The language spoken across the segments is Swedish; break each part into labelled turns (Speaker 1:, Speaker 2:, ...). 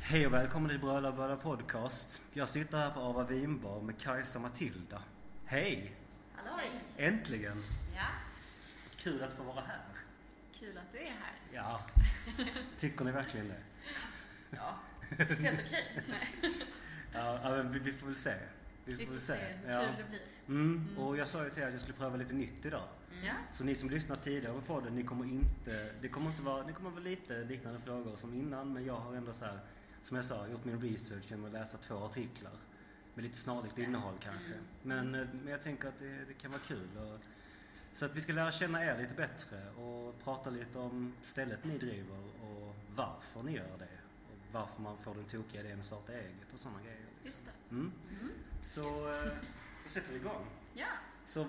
Speaker 1: Hej och välkommen till Bröda Bröda Podcast. Jag sitter här på Ava Vinbar med Kajsa Matilda. Hej!
Speaker 2: Halloj!
Speaker 1: Äntligen!
Speaker 2: Ja,
Speaker 1: Kul att få vara här.
Speaker 2: kul att du är här.
Speaker 1: Ja, tycker ni verkligen det?
Speaker 2: Ja, helt okej. Nej.
Speaker 1: Ja, ja, men vi, vi får väl se.
Speaker 2: Vi får se hur
Speaker 1: Ja.
Speaker 2: kul det blir.
Speaker 1: Mm. Och jag sa ju till er att jag skulle pröva lite nytt idag.
Speaker 2: Ja,
Speaker 1: Så ni som lyssnat tidigare på podden, ni kommer inte, det kommer inte vara, det kommer vara lite liknande frågor som innan, men jag har ändå så här, som jag sa, gjort min research genom att läsa två artiklar. Med lite snarlikt innehåll kanske.
Speaker 2: Mm.
Speaker 1: Men, eh, men jag tänker att det, det kan vara kul. Och, så att vi ska lära känna er lite bättre och prata lite om stället ni driver och varför ni gör det. Och varför man får den tokiga idén att starta eget och sådana grejer.
Speaker 2: just det.
Speaker 1: Mm.
Speaker 2: Mm.
Speaker 1: Så eh, då sätter vi igång.
Speaker 2: Ja,
Speaker 1: Så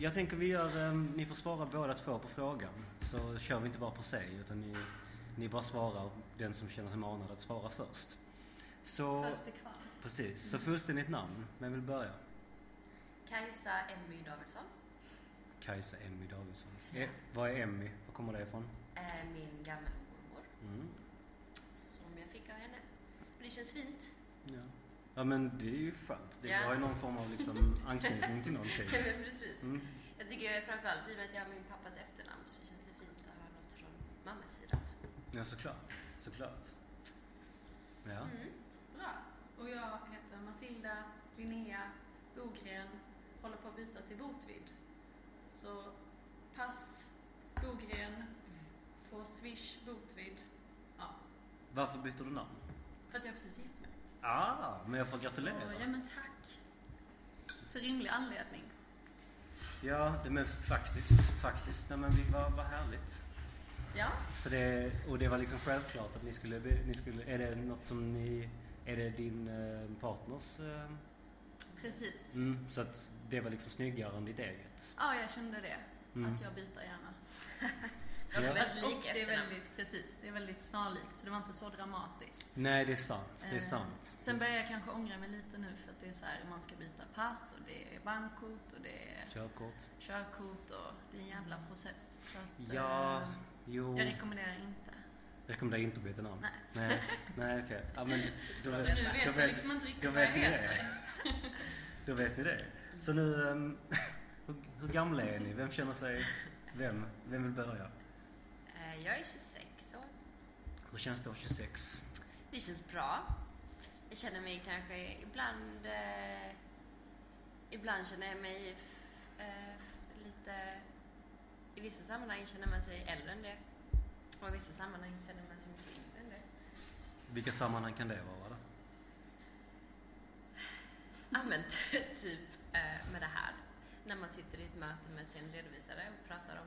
Speaker 1: jag tänker vi gör, eh, ni får svara båda två på frågan. Så kör vi inte bara för sig utan ni, ni bara svarar den som känner sig manad att svara först. Så,
Speaker 2: först till kvarn.
Speaker 1: precis, så fullständigt namn. Vem vill börja?
Speaker 2: Kajsa Emmy Davidsson.
Speaker 1: Kajsa Emmy Davidsson.
Speaker 2: Ja.
Speaker 1: Eh, Vad är Emmy? Var kommer det ifrån?
Speaker 2: Eh, Min gammelmormor
Speaker 1: Mm.
Speaker 2: som jag fick av henne. Och det känns fint.
Speaker 1: Ja. ja men det är ju skönt. Det
Speaker 2: Ja.
Speaker 1: har ju någon form av liksom anknytning till någonting.
Speaker 2: Ja, men precis.
Speaker 1: Mm.
Speaker 2: Jag tycker framförallt i och med att jag har min pappas efternamn så känns det fint att ha något från mammas sida också.
Speaker 1: Ja såklart, såklart. Ja.
Speaker 2: Mm.
Speaker 3: Bra. Och jag heter Matilda Linnea Bogren. Håller på att byta till botvid. Så pass Bogren på Swish botvid. Ja,
Speaker 1: Varför byter du namn?
Speaker 3: för att jag precis gift mig.
Speaker 1: Ah, men jag får gratulera.
Speaker 3: Så, ja men tack. Så rimlig anledning.
Speaker 1: Ja, det, men faktiskt. Faktiskt. Nej, men vi var, var härligt.
Speaker 3: Ja.
Speaker 1: Så det, och det var liksom självklart att ni skulle, be- ni skulle... Är det något som ni... Är det din eh, partners... Eh,
Speaker 3: Precis.
Speaker 1: mm, så att det var liksom snyggare än ditt eget.
Speaker 3: Ja, jag kände det.
Speaker 1: Mm.
Speaker 3: Att jag byter gärna.
Speaker 2: Det är också
Speaker 1: Ja.
Speaker 2: väldigt
Speaker 3: Och
Speaker 2: lik
Speaker 3: det är
Speaker 2: efternamn.
Speaker 3: väldigt, precis, det är väldigt snarlikt. Så det var inte så dramatiskt.
Speaker 1: Nej, det är sant. Det är
Speaker 3: Eh,
Speaker 1: sant.
Speaker 3: Sen börjar jag kanske ångra mig lite nu för att det är så här, man ska byta pass och det är bankkort och det är
Speaker 1: Körkort.
Speaker 3: körkort och det är en jävla process. Så att,
Speaker 1: Ja, Oh.
Speaker 3: eh,
Speaker 1: jo.
Speaker 3: jag rekommenderar inte.
Speaker 1: rekommenderar inte att byta namn.
Speaker 3: Nej.
Speaker 1: Nej, nej okej. Ja, men då,
Speaker 3: Så nu vet jag liksom inte riktigt
Speaker 1: då
Speaker 3: vad jag
Speaker 1: vet ni det.
Speaker 3: heter.
Speaker 1: Då vet ni det. Så nu, ehm, hur, hur gamla är ni? Vem känner sig... Vem? Vem vill börja?
Speaker 2: Eh, Jag är 26 år.
Speaker 1: Hur känns det att vara 26?
Speaker 2: Det känns bra. Jag känner mig kanske ibland... Eh, ibland känner jag mig f- eh, f- lite... I vissa sammanhang känner man sig äldre än det. Och i vissa sammanhang känner man sig mycket yngre än det.
Speaker 1: Vilka sammanhang kan det vara då?
Speaker 2: Ja men ty- typ eh, med det här. När man sitter i ett möte med sin redovisare och pratar om,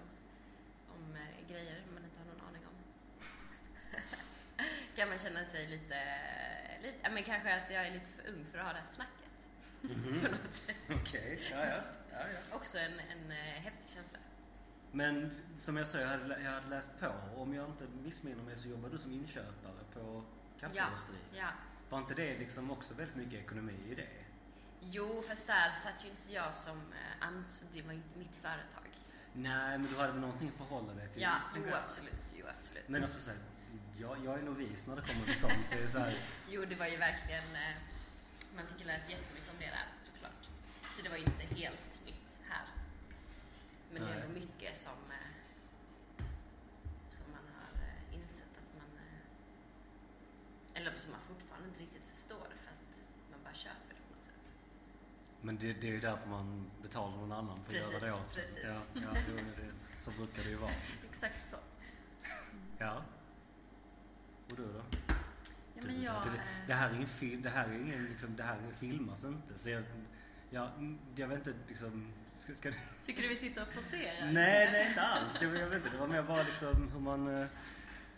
Speaker 2: om eh, grejer man inte har någon aning om. kan man känna sig lite... lite ja, men kanske att jag är lite för ung för att ha det här snacket. På något sätt.
Speaker 1: Mhm. Okej, ja, ja, ja, ja.
Speaker 2: Också en, en eh, häftig känsla.
Speaker 1: Men som jag sa, jag hade, lä- jag hade läst på. Om jag inte missminner mig så jobbar du som inköpare på kafferosteriet.
Speaker 2: Ja.
Speaker 1: Var inte det liksom också väldigt mycket ekonomi i det?
Speaker 2: Jo, fast där satt ju inte jag som eh, ansvarig. Det var ju inte mitt företag.
Speaker 1: Typ. Nej, men du hade väl någonting att förhålla dig till?
Speaker 2: Ja, jo
Speaker 1: tänker jag.
Speaker 2: absolut. Jo, absolut.
Speaker 1: Men alltså såhär, jag, jag är novis när det kommer till sånt. Det är så här,
Speaker 2: Jo, det var ju verkligen... eh, Man fick ju lära sig jättemycket om det där såklart. Så det var ju inte helt nytt här. Men det är
Speaker 1: Nej.
Speaker 2: ändå mycket som, eh, som man har eh, insett att man... eh, Eller som man fortfarande inte riktigt förstår fast man bara köper det på något sätt.
Speaker 1: men det, det är ju därför man betalar någon annan för att göra
Speaker 2: Precis,
Speaker 1: det åt en.
Speaker 2: precis.
Speaker 1: Ja, ja, jo, det, så brukar det ju vara.
Speaker 3: Exakt så.
Speaker 1: Ja. Och du då?
Speaker 3: Ja,
Speaker 1: Du,
Speaker 3: men jag,
Speaker 1: det,
Speaker 3: eh,
Speaker 1: det här är ingen film, det här är ingen, liksom, det här filmas inte. Så jag, jag, jag vet inte liksom, ska, ska,
Speaker 3: tycker du vi sitter och poserar?
Speaker 1: Nej, nej inte alls. Jag, jag vet inte, det var mer bara liksom hur man, eh,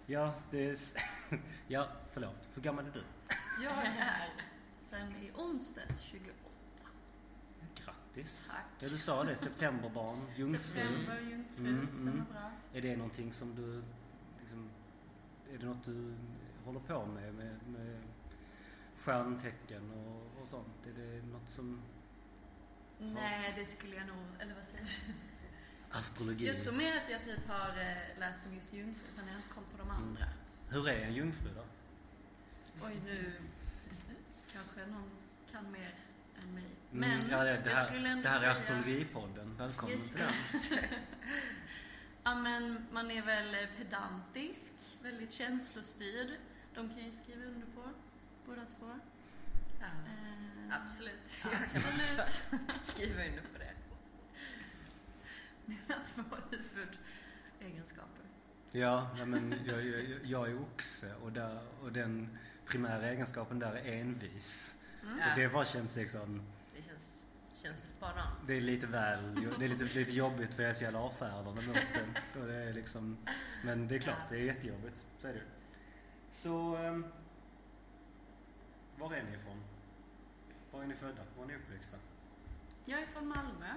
Speaker 1: ja det, är s- ja förlåt. Hur gammal är du?
Speaker 3: Jag är sen i onsdags 28.
Speaker 1: Grattis. Grattis!
Speaker 2: Tack.
Speaker 1: Ja, du sa det, septemberbarn, jungfru.
Speaker 3: September, jungfru,
Speaker 1: Mm,
Speaker 3: stämmer
Speaker 1: mm.
Speaker 3: bra.
Speaker 1: Är det någonting som du... Liksom, är det något du håller på med? Med, med stjärntecken och, och sånt? Är det något som...
Speaker 3: Nej, det skulle jag nog, eller vad säger du?
Speaker 1: Astrologi?
Speaker 3: Jag tror mer att jag typ har eh, läst om just jungfru, sen har jag inte koll på de andra.
Speaker 1: Hur är en jungfru då? Mm,
Speaker 3: Oj, nu kanske någon kan mer än mig.
Speaker 1: Mm,
Speaker 3: Men
Speaker 1: ja, det, det
Speaker 3: jag
Speaker 1: här,
Speaker 3: skulle ändå
Speaker 1: det här är
Speaker 3: säga...
Speaker 1: astrologipodden. Välkommen
Speaker 3: Just
Speaker 1: till den.
Speaker 3: ja, men man är väl pedantisk, väldigt känslostyrd. De kan jag ju skriva under på, båda två.
Speaker 2: Ja.
Speaker 3: Eh,
Speaker 2: Absolut. Jag kan också
Speaker 3: Absolut.
Speaker 2: skriva under på det.
Speaker 3: Mina två huvudegenskaper.
Speaker 1: Ja, nej, men jag, jag, jag är oxe och, där, och den primära egenskapen där är envis.
Speaker 3: Mm.
Speaker 2: Ja.
Speaker 1: Och det bara känns liksom...
Speaker 2: Det känns, känns spot on.
Speaker 1: Det är lite väl... Det är lite, lite jobbigt för jag är så jävla avfärdande mot den. Och det är liksom, men det är klart, det är jättejobbigt. Så är det ju. Så... ehm, Var är ni ifrån? Var är ni födda? Var är ni uppväxta?
Speaker 3: Jag är från Malmö.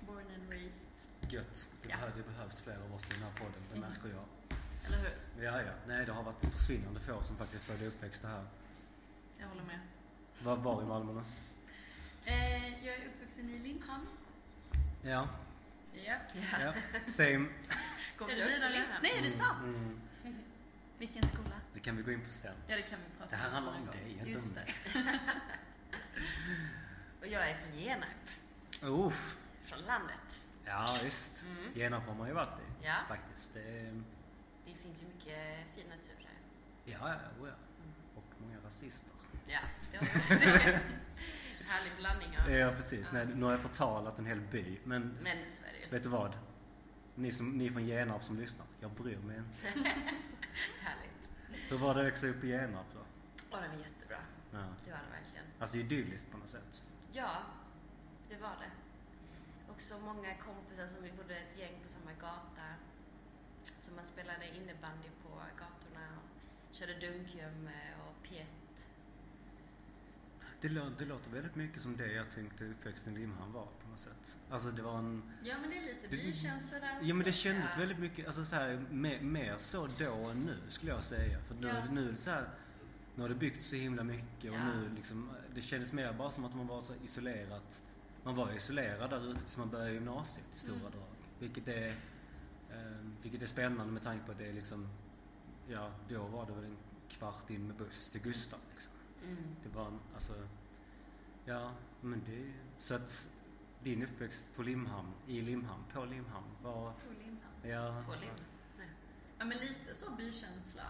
Speaker 3: Born and raised.
Speaker 1: Gött. Det,
Speaker 3: Ja.
Speaker 1: behö- det behövs fler av oss i den här podden, det
Speaker 3: Mm.
Speaker 1: märker jag.
Speaker 3: Eller hur?
Speaker 1: Ja, ja. Nej, det har varit försvinnande få som faktiskt födde och uppväxta här.
Speaker 3: Jag håller med.
Speaker 1: Var, var i Malmö då?
Speaker 3: Eh, jag är uppvuxen i Limhamn.
Speaker 1: Ja.
Speaker 3: Ja.
Speaker 1: ja. Same.
Speaker 3: Går
Speaker 2: Är
Speaker 3: vi
Speaker 2: du också
Speaker 3: vidare?
Speaker 2: Limhamn?
Speaker 3: Nej, är det sant?
Speaker 1: Mm.
Speaker 3: Vilken skola?
Speaker 1: Det kan vi gå in på sen.
Speaker 3: Ja, det kan vi prata om.
Speaker 1: Det här handlar
Speaker 3: någon
Speaker 1: om
Speaker 3: gång.
Speaker 1: dig, inte om
Speaker 3: Just
Speaker 1: mig.
Speaker 3: det.
Speaker 2: Och jag är från Genarp,
Speaker 1: Uff.
Speaker 2: från landet.
Speaker 1: Ja, visst.
Speaker 2: Mm.
Speaker 1: Genarp har man ju varit i.
Speaker 2: Ja.
Speaker 1: Faktiskt. Det är...
Speaker 2: Det finns ju mycket fin natur här.
Speaker 1: Ja, ja, oh, ja. Och många rasister.
Speaker 2: Ja, det var också härlig blandning av...
Speaker 1: Ja, precis. Nej, nu har jag förtalat en hel by. Men
Speaker 2: Men så är det ju.
Speaker 1: vet du vad? Ni, som, ni från Genarp som lyssnar, jag bryr mig inte.
Speaker 2: Härligt.
Speaker 1: Hur var det att växa upp i Genarp då?
Speaker 2: Och den var jättebra.
Speaker 1: Ja.
Speaker 2: Det var den verkligen.
Speaker 1: Alltså idylliskt på något sätt.
Speaker 2: Ja, det var det. Och så många kompisar som vi bodde ett gäng på samma gata. Så man spelade innebandy på gatorna och körde dunkgömme och pjätt.
Speaker 1: Det, lå- det låter väldigt mycket som det jag tänkte uppväxten i Limhamn var på något sätt. Alltså det var en...
Speaker 3: Ja, men det är lite
Speaker 1: Det-
Speaker 3: bykänsla där
Speaker 1: Ja men det
Speaker 3: också.
Speaker 1: kändes
Speaker 2: ja.
Speaker 1: väldigt mycket, alltså så här, mer, mer så då än nu skulle jag säga. För nu,
Speaker 3: Ja.
Speaker 1: nu är det så här, nu har det byggts så himla mycket och
Speaker 2: Ja.
Speaker 1: nu liksom, det kändes mer bara som att man var så isolerat. Man var isolerad där ute tills man började gymnasiet i stora
Speaker 3: Mm.
Speaker 1: drag. Vilket är, eh, vilket är spännande med tanke på att det är liksom, ja då var det väl en kvart in med buss till Gustav liksom.
Speaker 2: Mm.
Speaker 1: Det var en, alltså, ja men det, så att din uppväxt på Limhamn, i Limhamn, på Limhamn var
Speaker 3: På Limhamn.
Speaker 1: Ja.
Speaker 2: På lim.
Speaker 3: Ja, men lite så bykänsla.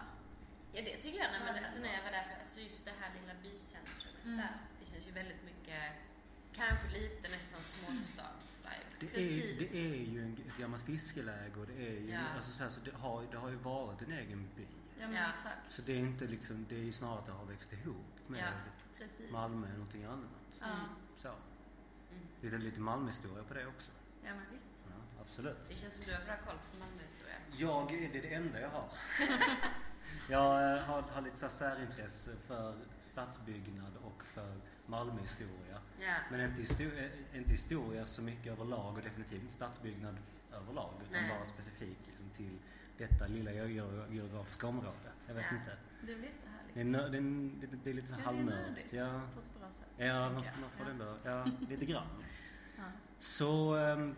Speaker 2: Ja det tycker jag. När, man, alltså, när jag var där, för, alltså, just det här lilla bycentrumet
Speaker 3: Mm.
Speaker 2: där. Det känns ju väldigt mycket, kanske lite nästan småstadsvibe.
Speaker 1: Det är,
Speaker 3: Precis.
Speaker 1: det är ju en, ett gammalt fiskeläge och det är ju,
Speaker 2: Ja.
Speaker 1: alltså, så här, så det, har, det har ju varit en egen by.
Speaker 3: Ja, men
Speaker 2: Ja.
Speaker 3: exakt.
Speaker 1: Så det är inte liksom, det är ju snarare att det har växt ihop med
Speaker 2: Ja.
Speaker 3: Precis.
Speaker 1: Malmö eller någonting annat.
Speaker 3: Ja,
Speaker 2: Mm.
Speaker 1: Så.
Speaker 2: Mm.
Speaker 1: Lite, lite Malmöhistoria på det också.
Speaker 3: ja men visst.
Speaker 1: Ja, absolut.
Speaker 2: Det känns som du har bra koll på Malmöhistoria.
Speaker 1: Jag, är- det är det enda jag har. jag eh, har, har lite så här särintresse för stadsbyggnad och för Malmöhistoria.
Speaker 2: Ja.
Speaker 1: Men inte historia, inte historia så mycket överlag och definitivt inte stadsbyggnad överlag utan
Speaker 2: Nej.
Speaker 1: bara specifikt liksom, till detta lilla geog- geografiska område. Jag vet
Speaker 2: Ja.
Speaker 1: inte.
Speaker 3: Det blir
Speaker 1: Det är,
Speaker 3: jättehärligt.
Speaker 1: nö, det är, en- det, det är lite så
Speaker 3: Ja,
Speaker 1: här
Speaker 3: det är
Speaker 1: halvnördigt.
Speaker 3: nördigt.
Speaker 1: Ja,
Speaker 3: På ett bra sätt.
Speaker 1: ja man,
Speaker 3: tänker jag.
Speaker 1: man får
Speaker 3: Ja.
Speaker 1: ändå, ja, lite grann.
Speaker 3: Ja.
Speaker 1: Så ehm,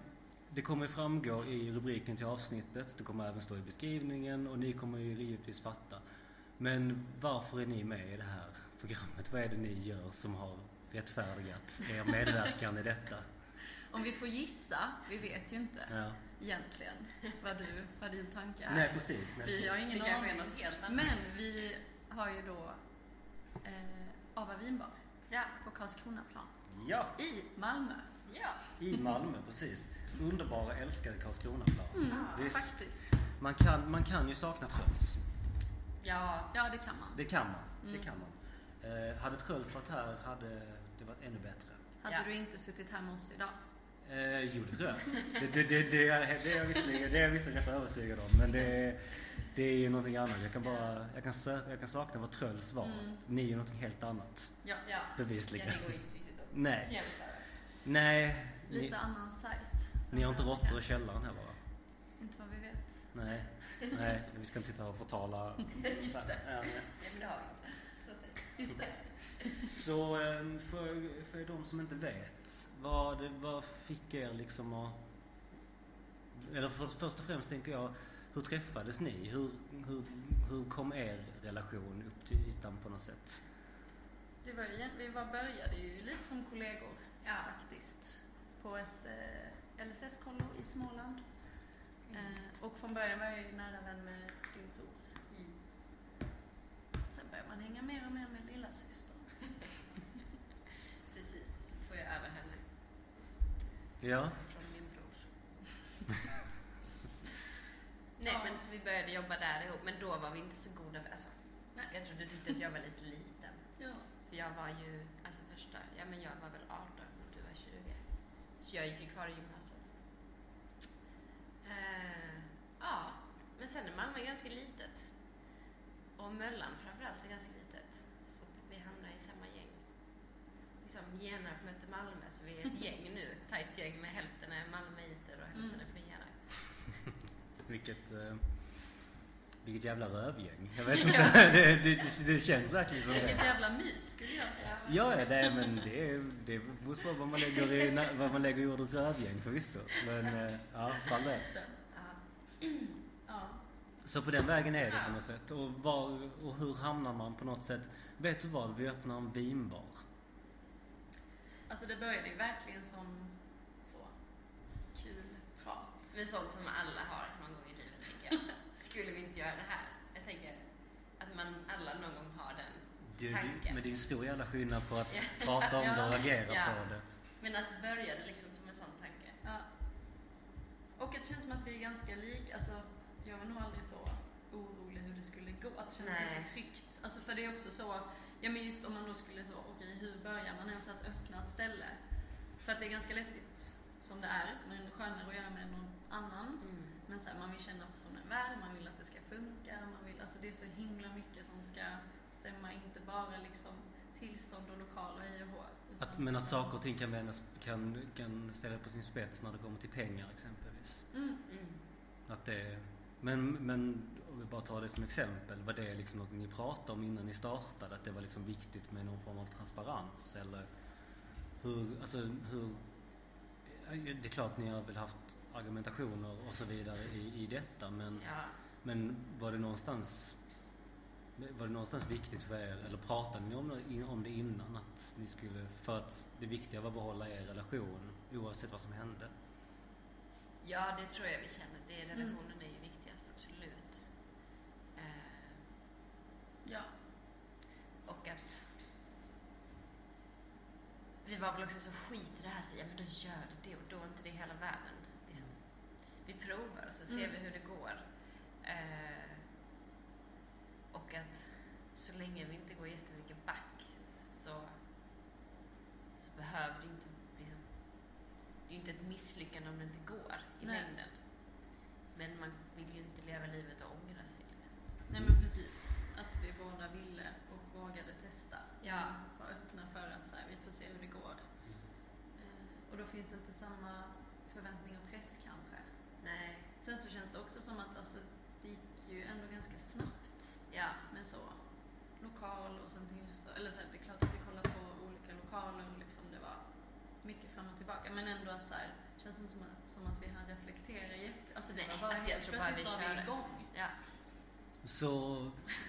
Speaker 1: det kommer framgå i rubriken till avsnittet, det kommer även stå i beskrivningen och ni kommer ju givetvis fatta. Men varför är ni med i det här programmet? Vad är det ni gör som har rättfärdigat er medverkan i detta?
Speaker 3: Om vi får gissa, vi vet ju inte
Speaker 1: Ja.
Speaker 3: egentligen vad, du, vad din tanke är.
Speaker 1: Nej precis. Nej,
Speaker 3: Vi
Speaker 1: precis.
Speaker 3: har ingen
Speaker 2: Det kanske är
Speaker 3: aning.
Speaker 2: något helt annat.
Speaker 3: Men vi har ju då eh, Ava Vinbar
Speaker 2: Ja.
Speaker 3: på Karlskronaplan
Speaker 1: Ja,
Speaker 3: i Malmö.
Speaker 2: Ja.
Speaker 1: i Malmö precis. Underbara älskade Karlskronaplan.
Speaker 3: Mm.
Speaker 1: Visst.
Speaker 3: Faktiskt.
Speaker 1: Man, kan, man kan ju sakna Tröls.
Speaker 2: Ja.
Speaker 3: Ja, det kan man.
Speaker 1: Det kan man.
Speaker 3: Mm.
Speaker 1: Det kan man. Eh, hade Tröls varit här hade det varit ännu bättre.
Speaker 3: Hade
Speaker 2: Ja.
Speaker 3: du inte suttit här med oss idag?
Speaker 1: Eh, jo, det tror jag. Det, det, det, det, är, det, är jag visserligen, det är jag visserligen rätt övertygad om. Men det är, det är ju någonting annat. Jag kan, bara, jag kan, sö, jag kan sakna vad Tröls var.
Speaker 3: Mm.
Speaker 1: Ni är ju någonting helt annat.
Speaker 3: Ja.
Speaker 2: Ja.
Speaker 1: Bevisligen.
Speaker 2: Ja, det går inte riktigt att
Speaker 1: Nej.
Speaker 2: jämföra.
Speaker 1: Nej, ni,
Speaker 3: Lite annan size.
Speaker 1: ni har inte råttor i källaren heller va?
Speaker 3: Inte vad vi vet.
Speaker 1: Nej, nej, vi ska inte sitta här och förtala.
Speaker 3: Just det.
Speaker 1: Ja, nej.
Speaker 2: Nej, men det har vi inte. Så säger
Speaker 3: Just det.
Speaker 1: Så eh, för, för de som inte vet, vad, vad fick er liksom att... Eller för, först och främst tänker jag, hur träffades ni? Hur, hur, hur kom er relation upp till ytan på något sätt?
Speaker 3: Det var ju, egent- vi var, började ju lite som kollegor faktiskt. På ett eh, LSS-kollo i Småland. Eh, och från början var jag ju nära vän med din bror.
Speaker 2: Mm.
Speaker 3: Sen började man hänga mer och mer med lilla syster.
Speaker 2: Precis. Tog jag över henne
Speaker 1: Ja,
Speaker 2: från min bror. Nej,
Speaker 3: Ja.
Speaker 2: men så vi började jobba där ihop. Men då var vi inte så goda. Alltså,
Speaker 3: Nej.
Speaker 2: jag tror du tyckte att jag var lite liten.
Speaker 3: Ja.
Speaker 2: För jag var ju, alltså första, ja men jag var väl 18 och du var 20. Så jag gick ju kvar i gymnasiet. Eh, ja, men sen är Malmö ganska litet. Och Möllan framförallt är ganska litet. Så att vi hamnade i samma gäng. Liksom Genarp mötte Malmö, så vi är ett gäng nu. Ett Tajt gäng med hälften är Malmöiter och hälften
Speaker 3: Mm.
Speaker 2: är från Genarp.
Speaker 1: vilket... Eh, vilket jävla rövgäng. Jag vet inte, det, det, det känns verkligen som
Speaker 3: Vilket
Speaker 1: det.
Speaker 3: jävla mys skulle jag säga.
Speaker 1: Ja, ja, det, men det, det beror på vad man lägger i, vad man lägger i ordet rövgäng förvisso. Men eh, ja, fan det.
Speaker 3: Just det.
Speaker 2: Ja.
Speaker 3: Ja.
Speaker 1: Så på den vägen är det
Speaker 2: Ja.
Speaker 1: på något sätt. Och, var, och hur hamnar man på något sätt? Vet du vad, vi öppnar en vinbar.
Speaker 3: Alltså det började ju verkligen som så kul prat.
Speaker 2: Men sånt som alla har någon gång i livet, tänker jag. Skulle vi inte göra det här? Jag tänker att man alla någon gång har den
Speaker 1: Du,
Speaker 2: Tanken.
Speaker 1: men det är en stor jävla skillnad på att
Speaker 2: Ja.
Speaker 1: prata om det och
Speaker 3: Ja.
Speaker 1: agera
Speaker 2: Ja.
Speaker 1: på det.
Speaker 2: Men att det började liksom som en sån tanke.
Speaker 3: Ja. Och att det känns som att vi är ganska lika. Alltså, jag var nog aldrig så orolig hur det skulle gå. Att det känns
Speaker 2: Nej.
Speaker 3: ganska tryggt. Alltså, för det är också så, ja men just om man då skulle så, okej hur börjar man ens att öppna ett ställe? För att det är ganska läskigt som det är, men skönare att göra med någon annan.
Speaker 2: Mm.
Speaker 3: Men så här, man vill känna personen väl, man vill att det ska funka, man vill, alltså det är så himla mycket som ska stämma, inte bara liksom tillstånd och lokal och hej och hå.
Speaker 1: Att,
Speaker 3: utan
Speaker 1: men att
Speaker 3: också-
Speaker 1: saker och ting kan, vändas, kan, kan ställas på sin spets när det kommer till pengar exempelvis.
Speaker 3: Mm.
Speaker 2: Mm.
Speaker 1: Att det, men, men om vi bara tar det som exempel, var det liksom något ni pratade om innan ni startade? Att det var liksom viktigt med någon form av transparens eller hur, alltså hur, det är klart ni har väl haft argumentationer och så vidare i, i detta men,
Speaker 2: Ja.
Speaker 1: men var det någonstans var det någonstans viktigt för er, eller pratade ni om det, om det innan? Att ni skulle, för att det viktiga var att behålla er relation oavsett vad som hände?
Speaker 2: ja, det tror jag vi känner. Det, relationen är ju viktigast, absolut. Eh,
Speaker 3: Ja.
Speaker 2: och att vi var väl också så skit i det här, så ja men då gör det det och då är inte det hela världen. Liksom. Vi provar och så ser
Speaker 3: Mm.
Speaker 2: vi hur det går. Eh, och att så länge vi inte går jättemycket back så, så behöver det inte liksom, det är ju inte ett misslyckande om det inte går i
Speaker 3: Nej.
Speaker 2: längden. Men man vill ju inte leva livet och ångra sig. Liksom.
Speaker 3: Nej men precis. Att vi båda ville och vågade testa.
Speaker 2: Ja.
Speaker 3: Var öppna för att så här, vi får se hur det går. Eh, Och då finns det inte samma förväntning och press kanske.
Speaker 2: Nej.
Speaker 3: Sen så känns det också som att alltså, det gick ju ändå ganska snabbt
Speaker 2: Ja.
Speaker 3: med så lokal och sen tillstånd. Eller så här, det är klart att vi kollade på olika lokaler och liksom det var mycket fram och tillbaka. Men ändå att så här, känns det inte som att, som att vi hann reflektera jätte... Alltså det
Speaker 2: Nej,
Speaker 3: var bara
Speaker 2: alltså, jag
Speaker 3: helt
Speaker 2: tror bara
Speaker 3: plötsligt
Speaker 2: vi
Speaker 3: var vi
Speaker 2: körde.
Speaker 3: igång.
Speaker 2: ja.
Speaker 1: Så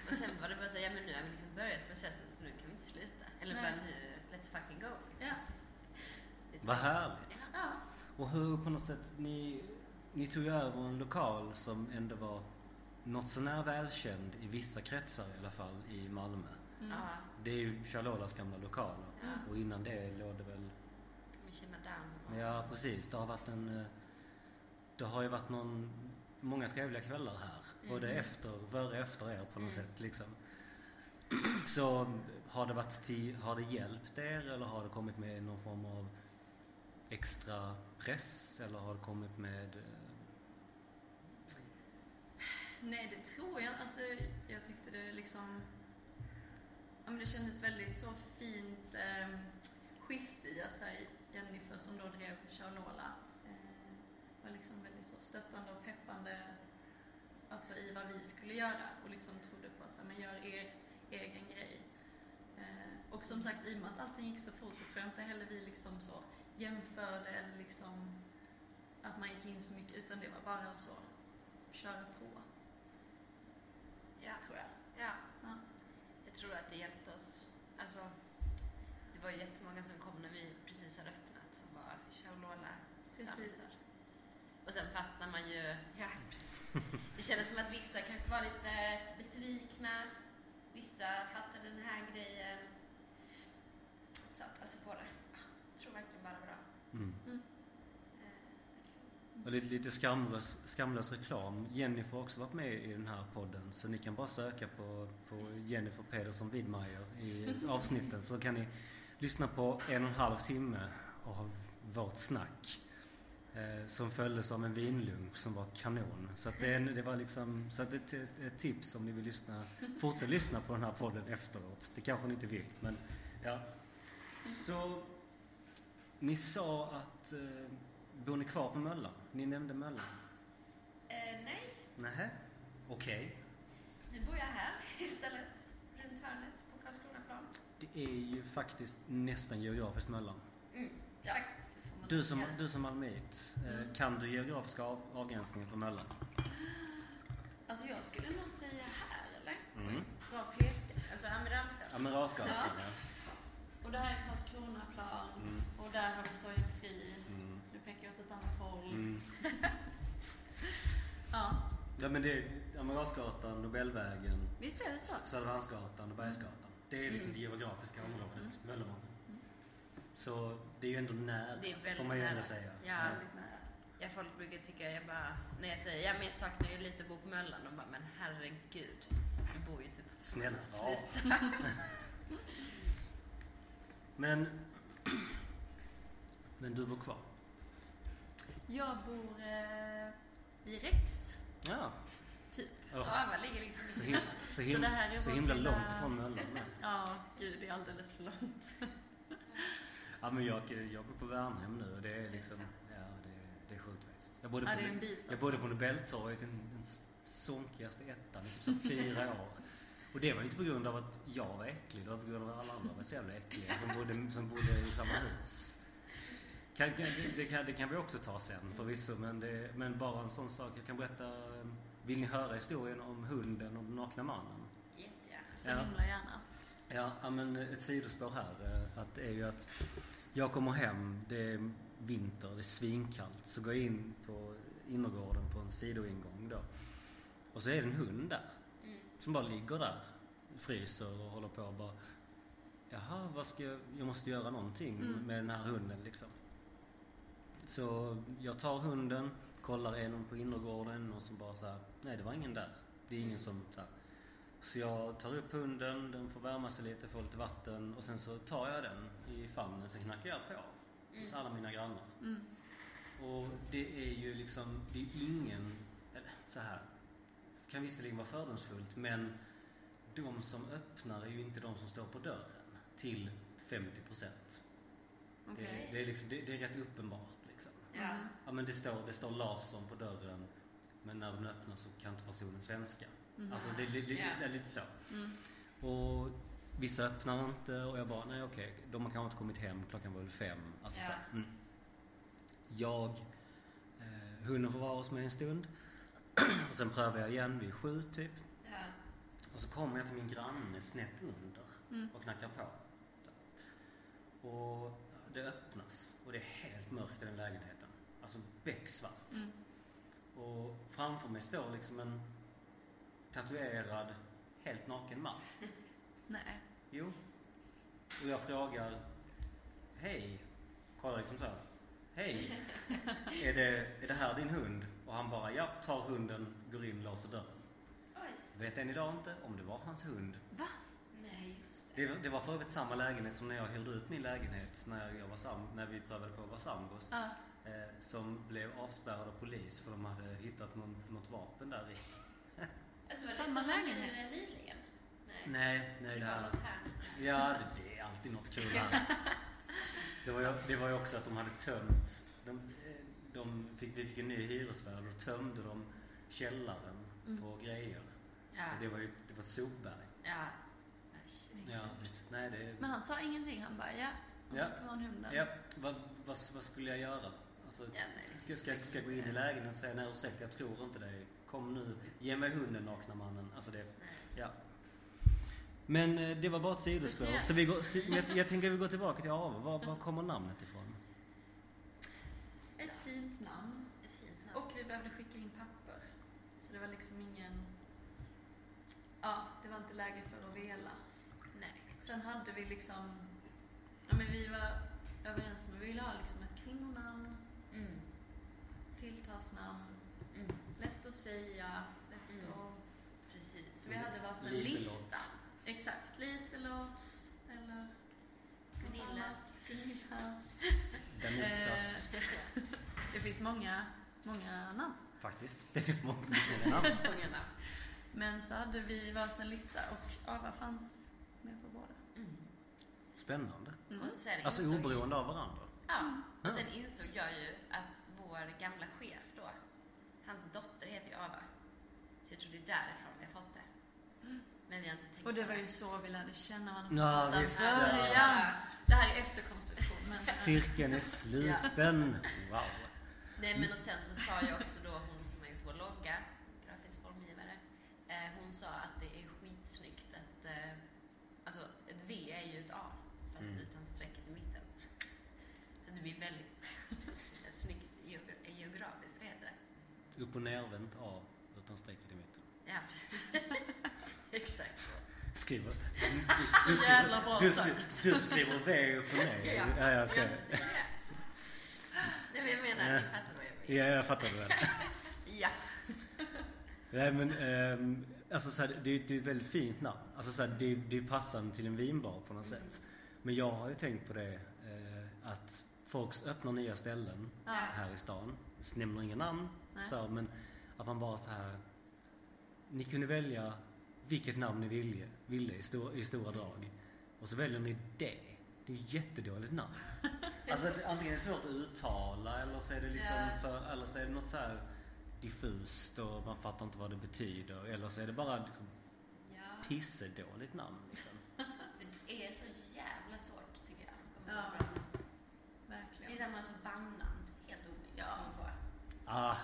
Speaker 2: Och sen var det bara så, ja men nu har vi liksom börjat processen så nu kan vi inte sluta. Eller
Speaker 3: Nej.
Speaker 2: bara nu, let's fucking go.
Speaker 3: Ja.
Speaker 2: Lite.
Speaker 1: vad härligt!
Speaker 3: ja.
Speaker 1: Och hur på något sätt ni, ni tog över en lokal som ändå var något sånär välkänd i vissa kretsar i alla fall i Malmö.
Speaker 3: Mm.
Speaker 2: Ja,
Speaker 1: Det är ju Charlolas gamla lokaler
Speaker 2: ja.
Speaker 1: och innan det låg det väl,
Speaker 2: Vi känner down.
Speaker 1: men ja precis, det har varit en, eh, det har ju varit någon, många trevliga kvällar här. Både
Speaker 2: Mm.
Speaker 1: efter, före efter er på något
Speaker 2: Mm.
Speaker 1: sätt liksom. Så har det varit till, har det hjälpt er eller har det kommit med någon form av extra press eller har det kommit med eh,
Speaker 3: Nej, det tror jag Alltså, jag tyckte det liksom... Ja, men det kändes väldigt så fint ehm, skift i att så här, Jennifer som då drev Charnola eh, var liksom väldigt så stöttande och peppande alltså i vad vi skulle göra och liksom trodde på att så här, men gör er egen grej. Eh, och som sagt, i och med att allting gick så fort så tror jag inte heller vi liksom så jämförde eller liksom att man gick in så mycket utan det var bara att så köra på,
Speaker 2: Ja.
Speaker 3: tror jag.
Speaker 2: ja.
Speaker 3: Ja.
Speaker 2: Jag tror att det hjälpte oss. Alltså, det var ju jättemånga som kom när vi precis hade öppnat som var Charlola stammisar.
Speaker 3: Precis.
Speaker 2: Och sen fattar man ju, ja precis. Det kändes som att vissa kanske var lite besvikna. Vissa fattade den här grejen. Så att, alltså båda. ja, Jag tror verkligen bara bra.
Speaker 1: Mm.
Speaker 2: Eh,
Speaker 1: Och lite, lite skamlös, skamlös reklam. Jennifer har också varit med i den här podden så ni kan bara söka på, på
Speaker 2: Just.
Speaker 1: Jennifer Pedersen Widmeier i avsnitten så kan ni lyssna på en och en halv timme av vårt snack. Eh, som följdes av en vinlunk som var kanon. Så, att det, är- det var liksom, så att ett, ett, ett tips om ni vill lyssna, fortsätt lyssna på den här podden efteråt. Det kanske ni inte vill men ja. Så ni sa att eh, Bor ni kvar på Möllan? Ni nämnde Möllan.
Speaker 2: Eh, nej,
Speaker 1: Nähä? Okej.
Speaker 2: nu bor jag här istället. Runt hörnet på Karlskronaplan.
Speaker 1: Det är ju faktiskt nästan geografiskt Möllan.
Speaker 2: Mm,
Speaker 3: Ja.
Speaker 2: Faktiskt.
Speaker 3: Får man
Speaker 1: Du som,
Speaker 2: Ja.
Speaker 1: du som malmöit, eh,
Speaker 3: Mm.
Speaker 1: kan du geografiska av, avgränsningen för Möllan?
Speaker 3: Alltså jag skulle nog säga här, eller?
Speaker 1: Mm.
Speaker 3: Bra peka.
Speaker 2: Alltså Amiralsgatan.
Speaker 1: Amiralsgatan.
Speaker 3: Ja.
Speaker 1: Ja.
Speaker 3: Och det här är Karlskronaplan
Speaker 1: Mm.
Speaker 3: och där har vi Sorgenfri.
Speaker 1: Mm.
Speaker 3: Nu pekar jag åt ett annat håll.
Speaker 1: Mm.
Speaker 3: Ja,
Speaker 1: ja men det är Amiralsgatan, Nobelvägen,
Speaker 3: visst är det så?
Speaker 1: S- Södermalmsgatan och Bergsgatan. Det är liksom det geografiska området, Möllevången. Så det är ju ändå nära,
Speaker 2: Det är väldigt
Speaker 1: får man ju ändå
Speaker 2: nära.
Speaker 1: säga.
Speaker 2: Ja.
Speaker 3: Väldigt nära.
Speaker 2: Ja, folk brukar tycka, jag bara, när jag säger, ja men jag saknar ju lite att bo på Möllan, de bara, men herregud, du bor ju typ
Speaker 1: Snälla, ja.
Speaker 2: Sluta.
Speaker 1: Men, men du bor kvar?
Speaker 3: Jag bor eh, i Rex,
Speaker 1: Ja.
Speaker 3: typ.
Speaker 2: Så
Speaker 1: Ugh.
Speaker 2: Ava ligger liksom
Speaker 1: Så,
Speaker 2: i
Speaker 1: him- så, him-
Speaker 3: Så det här är
Speaker 1: så
Speaker 3: vårt
Speaker 1: himla
Speaker 3: lilla-
Speaker 1: långt från Möllan.
Speaker 3: Ja, gud det är alldeles för långt.
Speaker 1: Ja, men jag, jag bor på Värnhem nu och det är liksom... Ja, det, det är sjukt faktiskt. Jag bodde,
Speaker 3: Ja,
Speaker 1: på,
Speaker 3: det är en
Speaker 1: Nobel-
Speaker 3: bit alltså.
Speaker 1: jag bodde på Nobeltorget, den, den sonkigaste ettan, i typ så fyra år. Och det var ju inte på grund av att jag var äcklig, det var på grund av att alla andra var så jävla äckliga som bodde, som bodde i samma hus. Kan, kan, det- det, kan, det kan vi också ta sen förvisso, men, det, men bara en sån sak. Jag kan berätta... eh, Vill ni höra historien om hunden och den nakna mannen?
Speaker 2: Jättegärna.
Speaker 3: Så
Speaker 1: Ja.
Speaker 3: himla gärna.
Speaker 1: Ja, ja, men ett sidospår här eh, att det är ju att jag kommer hem, det är vinter, det är svinkallt, så går jag in på innergården på en sidoingång då. Och så är det en hund där,
Speaker 2: Mm.
Speaker 1: som bara ligger där, fryser och håller på och bara Jaha, vad ska jag, jag måste göra någonting
Speaker 3: Mm.
Speaker 1: med den här hunden liksom. Så jag tar hunden, kollar igenom på innergården och så bara så här, nej det var ingen där. Det är ingen som så här. Så jag tar upp hunden, den får värma sig lite, får lite vatten och sen så tar jag den i famnen, så knackar jag på hos
Speaker 2: Mm.
Speaker 1: alla mina grannar.
Speaker 3: Mm.
Speaker 1: Och det är ju liksom, det är ingen, eller så här, kan visserligen vara fördomsfullt men de som öppnar är ju inte de som står på dörren till 50 procent.
Speaker 2: Okej.
Speaker 1: Det, det, är liksom, det, det är rätt uppenbart liksom.
Speaker 2: Ja.
Speaker 3: Mm.
Speaker 1: Ja men det står, det står Larsson på dörren men när den öppnar så kan inte personen svenska.
Speaker 3: Mhm.
Speaker 1: Alltså det, är li- li-
Speaker 2: Mm. Ja.
Speaker 1: det är lite så.
Speaker 3: Mm.
Speaker 1: Och vissa öppnar inte och jag bara, nej okej, de har kanske inte kommit hem, klockan var väl fem. Alltså,
Speaker 2: Ja.
Speaker 1: så, mm. Jag, eh, hunden får vara hos mig en stund. och sen prövar jag igen vid sju typ.
Speaker 2: Ja.
Speaker 1: Och så kommer jag till min granne snett under
Speaker 3: Mm.
Speaker 1: och knackar på. Och det öppnas och det är helt mörkt i den lägenheten. Alltså becksvart.
Speaker 3: Mm.
Speaker 1: Och framför mig står liksom en tatuerad, helt naken man.
Speaker 3: Nej.
Speaker 1: Jo. Och jag frågar, hej, kollar liksom så här, hej, är det, är det här din hund? Och han bara, ja, tar hunden, går in, låser dörren.
Speaker 2: Oj.
Speaker 1: Vet än idag inte om det var hans hund.
Speaker 3: Va?
Speaker 2: Nej, just det.
Speaker 1: Det, det var för övrigt samma lägenhet som när jag hyrde ut min lägenhet när, jag var sam, när vi prövade på att vara sambos.
Speaker 3: Ja.
Speaker 1: Eh, som blev avspärrad av polis för de hade hittat någon, något vapen där i.
Speaker 2: Alltså var det
Speaker 3: Samma
Speaker 2: samma
Speaker 3: lägenhet?
Speaker 2: lägenhet? Nyligen? Nej.
Speaker 1: Nej, nej det
Speaker 2: var
Speaker 1: här.
Speaker 2: något här.
Speaker 1: Ja, det, det är alltid något kul här. Det var, ju, det var ju också att de hade tömt, de, de fick, vi fick en ny hyresvärd och tömde de källaren
Speaker 2: Mm.
Speaker 1: på grejer.
Speaker 2: Ja.
Speaker 1: Och Det var ju det var ett sopberg.
Speaker 2: Ja. Äsch, det är
Speaker 1: Ja,
Speaker 2: klart.
Speaker 1: visst. Nej, det...
Speaker 3: Men han sa ingenting, han bara ja. Och
Speaker 1: Ja.
Speaker 3: så tog han hunden.
Speaker 1: Ja, vad, vad, vad skulle jag göra? Alltså,
Speaker 2: Ja, nej, det
Speaker 1: ska, ska, ska jag gå in i lägenheten och säga nej ursäkta, jag tror inte dig. Kom nu, ge mig hunden nakna mannen. Alltså det,
Speaker 2: Nej.
Speaker 1: ja. Men eh, det var bara ett sidospår.
Speaker 2: Speciellt.
Speaker 1: Så vi går, så jag, jag tänker vi går tillbaka till Ava. Var, var kommer namnet ifrån?
Speaker 3: Ett fint namn.
Speaker 2: Ett fint namn.
Speaker 3: Och vi behövde skicka in papper. Så det var liksom ingen... Ja, det var inte läge för att vela.
Speaker 2: Nej.
Speaker 3: Sen hade vi liksom... Ja, men vi var överens om att vi ville ha liksom ett kvinnonamn,
Speaker 2: Mm.
Speaker 3: tilltalsnamn,
Speaker 2: Mm.
Speaker 3: lätt att säga, lätt
Speaker 2: Mm.
Speaker 3: att...
Speaker 2: Precis.
Speaker 3: Så vi hade varsin
Speaker 1: Liselott.
Speaker 3: lista. Exakt. Liselotts eller... något
Speaker 2: Gunillas.
Speaker 3: annat. Gunillas.
Speaker 1: Danutas,
Speaker 3: Eh, det finns många, många namn.
Speaker 1: faktiskt. Det finns många namn.
Speaker 2: Många namn.
Speaker 3: Men så hade vi varsin lista och Ava fanns med på båda.
Speaker 2: Mm.
Speaker 1: Spännande.
Speaker 3: Mm.
Speaker 2: Och sen
Speaker 1: Alltså
Speaker 2: insåg-
Speaker 1: oberoende av varandra.
Speaker 2: Ja.
Speaker 1: Ja.
Speaker 2: Och sen insåg jag ju att vår gamla chef då, hans dotter heter ju Ava. Så jag tror det är därifrån vi har fått det. Men vi har inte tänkt
Speaker 3: Mm. Och det
Speaker 2: på
Speaker 3: var ju så vi lärde känna
Speaker 1: Ja,
Speaker 3: varandra från
Speaker 1: visst,
Speaker 3: första
Speaker 1: ja.
Speaker 3: början. Det här är efterkonstruktion. Men,
Speaker 1: Cirkeln är sluten. Wow.
Speaker 2: Nej
Speaker 3: Mm.
Speaker 2: men och sen så sa jag också då hon som har gjort vår logga, grafisk formgivare, eh, hon sa att det är skitsnyggt att, eh, alltså ett V är ju ett A fast
Speaker 1: Mm.
Speaker 2: utan strecket i mitten. Så det blir väldigt snyggt geogra- geografiskt, vad heter det?
Speaker 1: Upp och nervänt A utan strecket i mitten.
Speaker 2: Ja, exakt så.
Speaker 1: Skriver.
Speaker 3: Så jävla bra
Speaker 1: du,
Speaker 3: sagt.
Speaker 1: skri- du skriver V upp och ner.
Speaker 2: Ja.
Speaker 1: Ja, ja,
Speaker 2: Jag
Speaker 1: okej.
Speaker 2: inte det. Nej men jag menar, ni fattar vad jag menar.
Speaker 1: ja jag fattar det väl.
Speaker 2: Ja.
Speaker 1: Nej men, ehm, alltså så här, det, det är ett väldigt fint namn. Alltså så här, det, det är passande till en vinbar på något
Speaker 2: Mm.
Speaker 1: sätt. Men jag har ju tänkt på det eh, att folk öppnar nya ställen
Speaker 3: ja.
Speaker 1: här i stan. Jag nämner inga namn,
Speaker 3: Nej.
Speaker 1: så, men att man bara så här. Ni kunde välja vilket namn ni ville, ville i, stor, i stora drag. Och så väljer ni det. Det är ett jättedåligt namn. Alltså det- antingen är det svårt att uttala eller så är det liksom
Speaker 3: Ja.
Speaker 1: för, eller så är det något så här diffust och man fattar inte vad det betyder. Eller så är det bara liksom
Speaker 3: Ja.
Speaker 1: pissedåligt namn. Liksom.
Speaker 2: Men det är så jävla svårt tycker jag. att komma
Speaker 3: Ja.
Speaker 2: på bra namn. Det är
Speaker 3: Verkligen.
Speaker 2: samma som bandnamn. Helt omöjligt
Speaker 3: Ja.
Speaker 2: att komma på.
Speaker 1: Ah,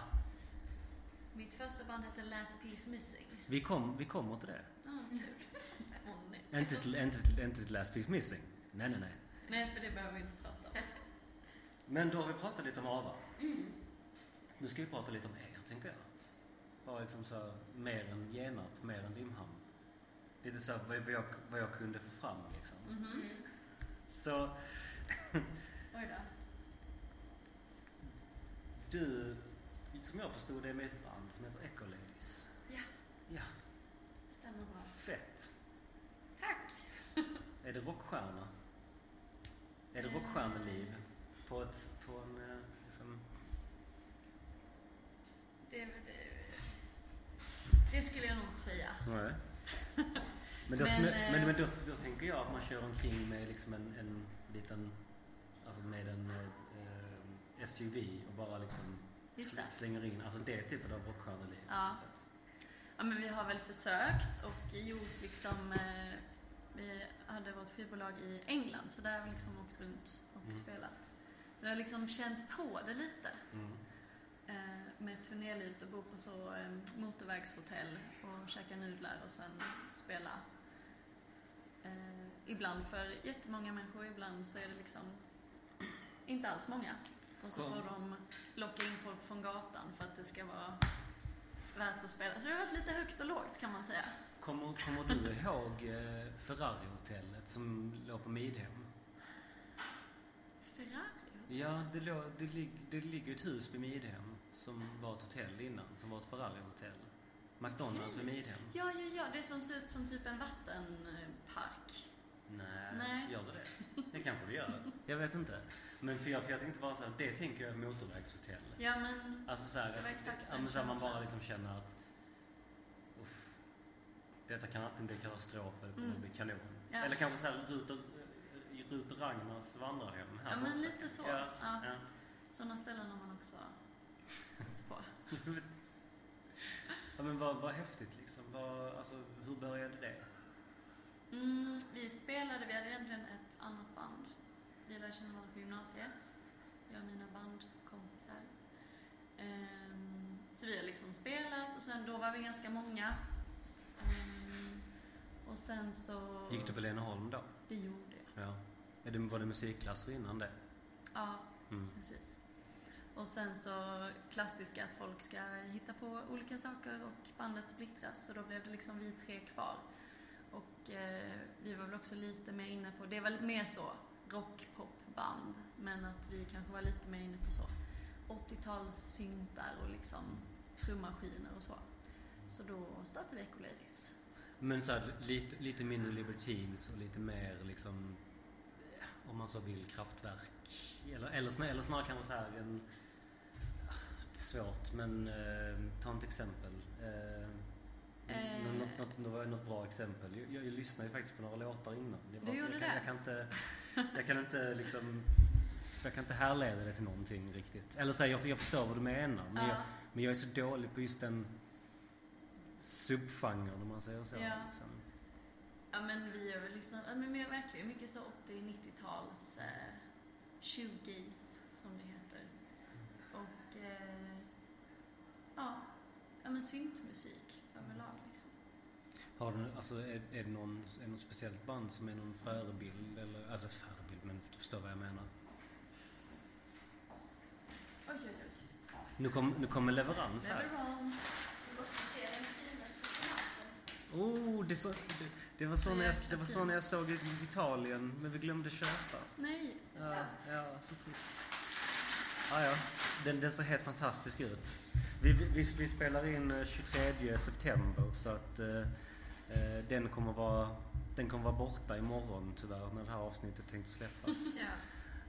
Speaker 3: Mitt första band hette Last Piece Missing.
Speaker 1: vi, kom, vi kommer till det.
Speaker 3: Ja, Ah, kul. Åh, nej.
Speaker 1: Inte till, inte till, inte till Last Piece Missing. Nej, nej, nej.
Speaker 3: Nej, för det behöver vi inte prata om.
Speaker 1: Men då har vi pratat lite om Ava.
Speaker 2: Mm.
Speaker 1: Nu ska vi prata lite om er, tänker jag. Bara liksom så här, mer än Genarp, mer än Limhamn. Lite så här, vad, vad, jag, vad jag kunde få fram liksom.
Speaker 3: Mhm.
Speaker 2: Mm.
Speaker 1: Så
Speaker 3: Oj då.
Speaker 1: du, som jag förstod det, är med i ett band som heter Echo Ladies.
Speaker 3: Ja,
Speaker 1: Ja,
Speaker 3: stämmer bra.
Speaker 1: fett.
Speaker 3: Tack!
Speaker 1: Är det rockstjärna? Är det
Speaker 3: Eh.
Speaker 1: rockstjärneliv? På ett, på en, eh, liksom,
Speaker 3: Det, det, det skulle jag nog inte säga.
Speaker 1: Nej. Men, då,
Speaker 3: Men,
Speaker 1: men, men,
Speaker 3: eh,
Speaker 1: då, då tänker jag att man kör omkring med liksom en, en liten, alltså med en eh, eh, SUV och bara liksom
Speaker 3: Just det.
Speaker 1: sl- slänger in, alltså det typen av rockstjärneliv.
Speaker 3: Ja.
Speaker 1: Så att-
Speaker 3: Ja, men vi har väl försökt och gjort liksom... Eh, vi hade vårt skivbolag i England så där har vi liksom åkt runt och
Speaker 1: Mm.
Speaker 3: spelat. Så jag har liksom känt på det lite
Speaker 1: Mm.
Speaker 3: eh, med turnélivet och bo på så eh, motorvägshotell och käka nudlar och sen spela. Eh, ibland för jättemånga människor, ibland så är det liksom inte alls många. Och så
Speaker 1: Skönt.
Speaker 3: får de locka in folk från gatan för att det ska vara värt att spela. Så det har varit lite högt och lågt kan man säga.
Speaker 1: Kommer, kommer du ihåg eh, Ferrari-hotellet som låg på Midhem?
Speaker 3: Ferrari?
Speaker 1: Ja, det, låg, det, lig, det ligger ett hus vid Midhem som var ett hotell innan, som var ett Ferrari-hotell. McDonalds
Speaker 3: Okej.
Speaker 1: vid Midhem.
Speaker 3: Ja, ja, ja, det som ser ut som typ en vattenpark.
Speaker 1: Nej,
Speaker 3: Nej.
Speaker 1: gör det det? Det kanske det gör. Jag vet inte. Men för jag, för jag tänkte bara så här, det tänker jag motorvägshotell.
Speaker 3: Ja, men
Speaker 1: Alltså så här,
Speaker 3: Det var exakt
Speaker 1: ja,
Speaker 3: den
Speaker 1: men så här, man
Speaker 3: känslan.
Speaker 1: bara liksom känner att uff, detta kan antingen bli katastrof eller kommer
Speaker 3: Mm.
Speaker 1: bli kanon.
Speaker 3: Ja.
Speaker 1: Eller kanske så här, ruta, eh, Rut och Ragnars vandrarhem här
Speaker 3: Ja, men
Speaker 1: borta.
Speaker 3: lite så.
Speaker 1: Ja,
Speaker 3: Ja.
Speaker 1: ja.
Speaker 3: Sådana ställen har man också gått på.
Speaker 1: ja men vad, vad häftigt liksom. Vad, alltså, hur började det?
Speaker 3: Mm, vi spelade, vi hade egentligen ett annat band. Vi lärde känna varandra på gymnasiet, jag och mina bandkompisar. Ehm, så vi har liksom spelat och sen då var vi ganska många. Ehm, och sen så...
Speaker 1: Gick du på Leneholm då?
Speaker 3: Det gjorde jag.
Speaker 1: Ja. Är det, var det musikklasser innan det?
Speaker 3: Ja,
Speaker 1: Mm.
Speaker 3: precis. Och sen så klassiska att folk ska hitta på olika saker och bandet splittras. Så då blev det liksom vi tre kvar. Och eh, vi var väl också lite mer inne på, det var mer så, rock, pop, band. Men att vi kanske var lite mer inne på så 80-talssyntar och liksom trummaskiner och så. Så då startade vi Ecoladies.
Speaker 1: Men så här, lite, lite mindre libertins och lite mer liksom eh, om man så vill kraftverk eller, eller, snar, eller snarare kanske så här en ah, svårt men eh, ta ett exempel. Eh,
Speaker 3: Eh.
Speaker 1: nå- Något, något, det var något bra exempel. Jag, jag, jag lyssnade ju faktiskt på några låtar innan. Det var
Speaker 3: Du
Speaker 1: så-
Speaker 3: gjorde
Speaker 1: jag, kan, jag
Speaker 3: det?
Speaker 1: kan inte Jag kan inte liksom jag kan inte härleda det till någonting riktigt. Eller så här, jag, jag förstår vad du menar men jag,
Speaker 3: Ja,
Speaker 1: men jag är så dålig på just den subgenren om man säger så.
Speaker 3: Ja.
Speaker 1: Liksom.
Speaker 3: ja men vi har väl lyssnat, ja, men mer verkligen mycket så 80-90-tals eh, shoegaze som det heter. Och eh, ja, ja men syntmusik överlag liksom.
Speaker 1: Har du, alltså, är, är, det någon, är det något speciellt band som är någon förebild? Eller, alltså förebild, men du förstår vad jag menar.
Speaker 3: Oj, oj, oj.
Speaker 1: Nu kom- nu kommer leverans här.
Speaker 3: Leverance.
Speaker 2: Vi måste se den finaste snappen.
Speaker 1: Oh, det, så, det, det var så när jag, det var så när jag såg i Italien, men vi glömde köpa.
Speaker 3: Nej.
Speaker 1: Ja, ja så trist. Ah, ja. Den, den ser helt fantastisk ut. Vi, vi, vi spelar in eh, 23 september så att eh, eh, den, kommer vara, den kommer vara borta imorgon tyvärr när det här avsnittet tänkte släppas.
Speaker 3: Ja,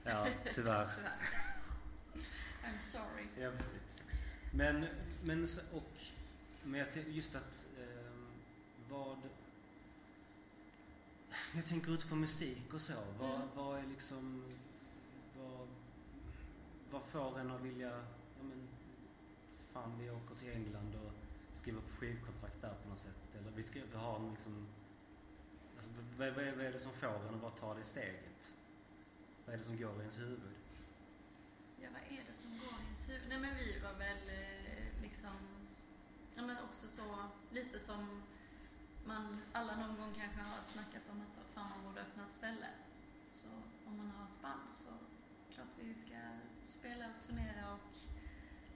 Speaker 1: Ja, tyvärr.
Speaker 3: tyvärr. I'm sorry.
Speaker 1: Ja, precis. Men, men, så- och, men jag tän- just att ehm, vad... Jag tänker utifrån musik och så. Vad,
Speaker 3: Mm.
Speaker 1: vad är liksom... Vad, vad får en att vilja... Ja, men, fan, vi åker till England och skriver på skivkontrakt där på något sätt. Eller vi, ska, vi har en liksom... Alltså, vad, vad, är, vad är det som får en att bara ta det steget? Vad är det som går i ens huvud?
Speaker 3: Ja, vad är det som går i ens huvud? Nej, men vi var väl eh, liksom... Ja, men också så lite som man alla någon gång kanske har snackat om att så, fan man borde öppna ett ställe. Så om man har ett band så klart vi ska spela och turnera och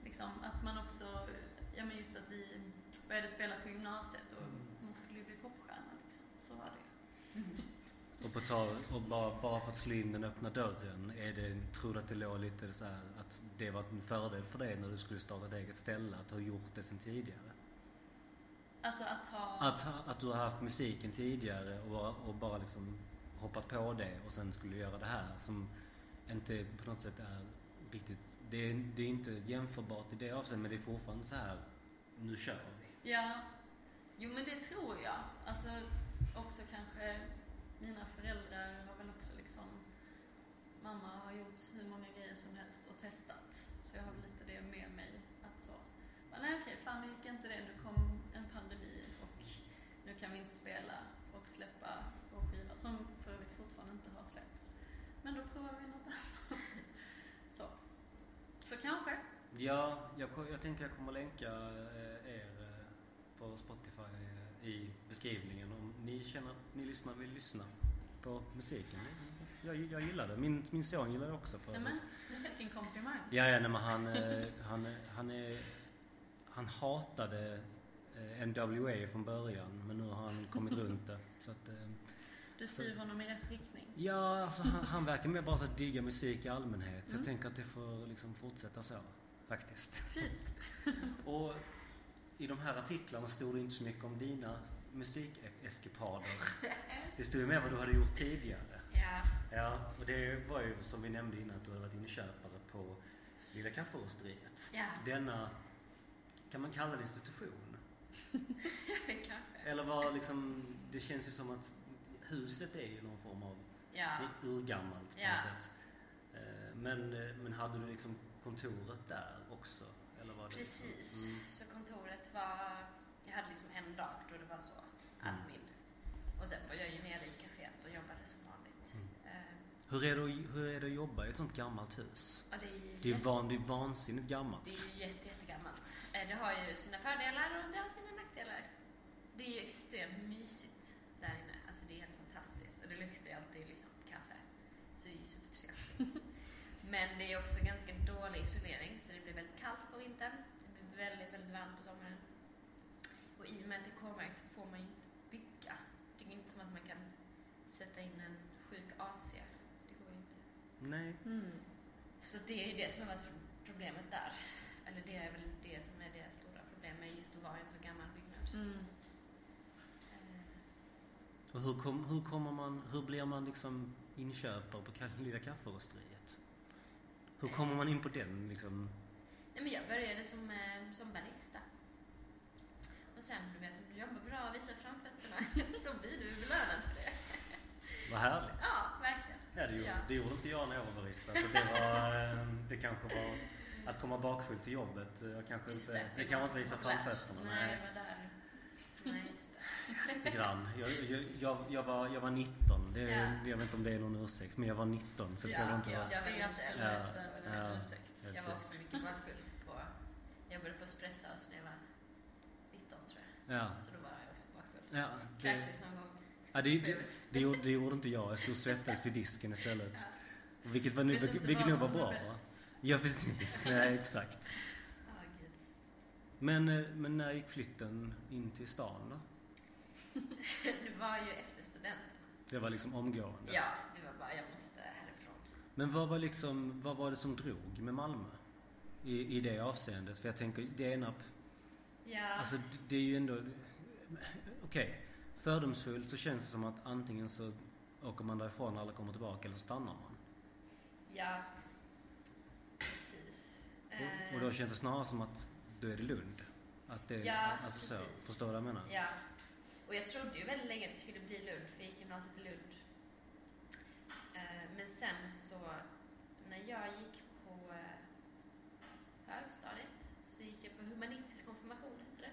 Speaker 3: liksom att man också, ja men just att vi började spela på gymnasiet och man skulle ju bli popstjärna liksom. Så var det ju.
Speaker 1: Och, på tal, och bara, bara för att slå in den öppna dörren, är det, tror du att det låg lite så här att det var en fördel för dig när du skulle starta ett eget ställe, att ha gjort det sen tidigare?
Speaker 3: Alltså att ha...
Speaker 1: Att, ha- att du har haft musiken tidigare och bara, och bara liksom hoppat på det och sen skulle göra det här som inte på något sätt är riktigt, det är, det är inte jämförbart i det avseendet men det är fortfarande så här, nu kör vi.
Speaker 3: Ja, jo men det tror jag. Alltså också kanske mina föräldrar har väl också liksom Mamma har gjort hur många grejer som helst och testat. Så jag har väl lite det med mig. Att så, bara, nej okej, fan nu gick inte det. Nu kom en pandemi och nu kan vi inte spela och släppa vår skiva. Som för övrigt fortfarande inte har släppts. Men då provar vi något annat. Så. Så kanske.
Speaker 1: Ja, jag, ko- jag tänker jag kommer länka eh, er eh, på Spotify eh, i beskrivningen om ni känner att ni lyssnar vill lyssna på musiken. Jag, jag gillar det. Min, min son gillar det också för
Speaker 3: Nej men, vilken komplimang.
Speaker 1: Ja, ja, nej, men han, eh, han, han, är, han hatade eh, NWA från början men nu har han kommit runt det. Så att, eh,
Speaker 3: Du styr honom i rätt riktning.
Speaker 1: ja, alltså, han, han verkar mer bara så att digga musik i allmänhet så jag
Speaker 3: Mm.
Speaker 1: tänker att det får liksom fortsätta så faktiskt.
Speaker 3: Fint.
Speaker 1: Och i de här artiklarna stod det inte så mycket om dina musikeskipader. Det stod ju mer vad du hade gjort tidigare.
Speaker 3: Ja.
Speaker 1: Ja, och det var ju som vi nämnde innan att du hade varit inköpare på Lilla Kaffeosteriet.
Speaker 3: Ja,
Speaker 1: Denna, kan man kalla det institution?
Speaker 3: kanske.
Speaker 1: Eller var liksom, det känns ju som att huset är ju någon form av
Speaker 2: Ja.
Speaker 1: Det är urgammalt på
Speaker 2: Ja.
Speaker 1: något sätt. Eh, Men, eh, men hade du liksom kontoret där också? Eller var det liksom-
Speaker 2: Precis.
Speaker 1: Mm.
Speaker 2: Så kontoret var... Jag hade liksom en dag då det var så,
Speaker 1: Mm.
Speaker 2: admin. Och sen var jag ju nere i kaféet och jobbade som vanligt.
Speaker 1: Mm.
Speaker 2: Eh,
Speaker 1: Hur, är det, att- hur är det att jobba i ett sånt gammalt hus?
Speaker 2: och det är,
Speaker 1: Det är,
Speaker 2: jätte-
Speaker 1: van, det är vansinnigt gammalt.
Speaker 2: det är ju jätte, jättegammalt. Eh, det har ju sina fördelar och det har sina nackdelar. Det är ju extremt mysigt där inne. Alltså det är helt fantastiskt. Och det luktar ju alltid liksom kaffe. Så det är ju supertrevligt. Men det är också ganska dålig isolering så det blir väldigt kallt på vintern. Det blir väldigt, väldigt varmt på sommaren. Och i och med att det är K-märkt så får man ju inte bygga. Det är ju inte som att man kan sätta in en sjuk AC. Det går ju inte.
Speaker 1: Nej.
Speaker 3: Mm.
Speaker 2: Så det är ju det som har varit problemet där. Eller det är väl det som är det stora problemet, just att vara i en så gammal byggnad.
Speaker 3: Mm.
Speaker 2: Eh,
Speaker 1: Och hur, kom, hur, kommer man, hur blir man liksom inköpare på ka- Lilla Kafferosteriet? Hur kommer man in på den liksom?
Speaker 2: Nej, men jag började som, eh, som barista. Och sen, du vet, om du jobbar bra och visar framfötterna, då blir du belönad för det.
Speaker 1: Vad härligt.
Speaker 2: Ja, verkligen.
Speaker 1: Ja, det,
Speaker 2: Så
Speaker 1: gjorde,
Speaker 2: jag-
Speaker 1: det gjorde inte jag när jag var barista. Så det, var, eh, det kanske var att komma bakfull till jobbet. eh, Jag kanske
Speaker 2: Just
Speaker 1: inte,
Speaker 2: det,
Speaker 1: det,
Speaker 2: det
Speaker 1: kan
Speaker 2: var
Speaker 1: man inte visa
Speaker 2: inte så populärt.
Speaker 1: framfötterna.
Speaker 2: Nej,
Speaker 1: Nej,
Speaker 2: det var där. Nej, just det.
Speaker 1: lite grann. Jag, jag, jag, jag, var, jag var 19. Det,
Speaker 2: Ja.
Speaker 1: Jag vet inte om det är någon ursäkt, men jag var 19. Så det
Speaker 2: Ja,
Speaker 1: behöver inte
Speaker 2: ja,
Speaker 1: vara...
Speaker 2: ja.
Speaker 3: Jag vet inte
Speaker 2: Ja,
Speaker 3: heller, så det var
Speaker 1: ja.
Speaker 3: en ursäkt.
Speaker 2: Jag var också mycket bakfull på... Jag jobbade på Espresso House när jag var 19 tror jag.
Speaker 1: Ja.
Speaker 2: Så då var jag också bakfull.
Speaker 1: Ja, det,
Speaker 2: Kräktes någon gång.
Speaker 1: ja, det, det,
Speaker 2: Trevligt.
Speaker 1: det, gjorde, det gjorde inte jag. Jag stod och svettades vid disken istället.
Speaker 2: Ja.
Speaker 1: Vilket, var nu,
Speaker 3: Vet inte
Speaker 1: vilket
Speaker 3: vad
Speaker 1: nog var
Speaker 3: som
Speaker 1: bra.
Speaker 3: är
Speaker 1: va?
Speaker 3: bäst.
Speaker 1: Ja, precis. Nej, exakt.
Speaker 2: Ah, gud.
Speaker 1: Men, eh, men när gick flytten in till stan då?
Speaker 2: Det var ju efter studenten.
Speaker 1: Det var liksom omgående.
Speaker 2: Ja, det var bara jag måste härifrån.
Speaker 1: Men vad var, liksom, vad var det som drog med Malmö? I, I det avseendet? För jag tänker, Denab,
Speaker 2: Ja,
Speaker 1: alltså d- det är ju ändå... Okej, fördomsfullt så känns det som att antingen så åker man därifrån när alla kommer tillbaka eller så stannar man.
Speaker 2: ja. Precis. Eh.
Speaker 1: Och, och då känns det snarare som att då är det Lund. Att det,
Speaker 2: Ja,
Speaker 1: alltså så,
Speaker 2: precis.
Speaker 1: förstår du vad jag menar?
Speaker 2: Ja. Och jag trodde ju väldigt länge att det skulle bli Lund, för jag gick gymnasiet i Lund. Eh, Men sen så, när jag gick på eh, högstadiet så gick jag på humanistisk konfirmation, heter det.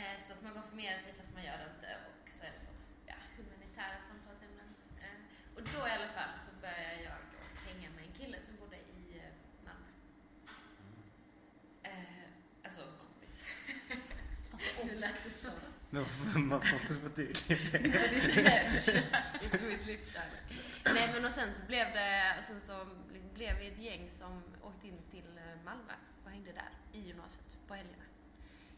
Speaker 2: Eh, Så att man konfirmerar sig fast man gör det inte och så är det så. Ja, humanitära samtalsämnen. Eh, Och då i alla fall så började jag hänga med en kille som bodde i eh, Malmö.
Speaker 1: Mm.
Speaker 2: Eh, Alltså kompis.
Speaker 3: Alltså, nu lät det som...
Speaker 1: Men man måste förtydliga det.
Speaker 2: Det är lite lätt.
Speaker 3: Inte mitt livskärlek.
Speaker 2: Nej men och sen så blev det, och sen så liksom blev vi ett gäng som åkte in till eh, Malmö och hängde där i gymnasiet på helgerna.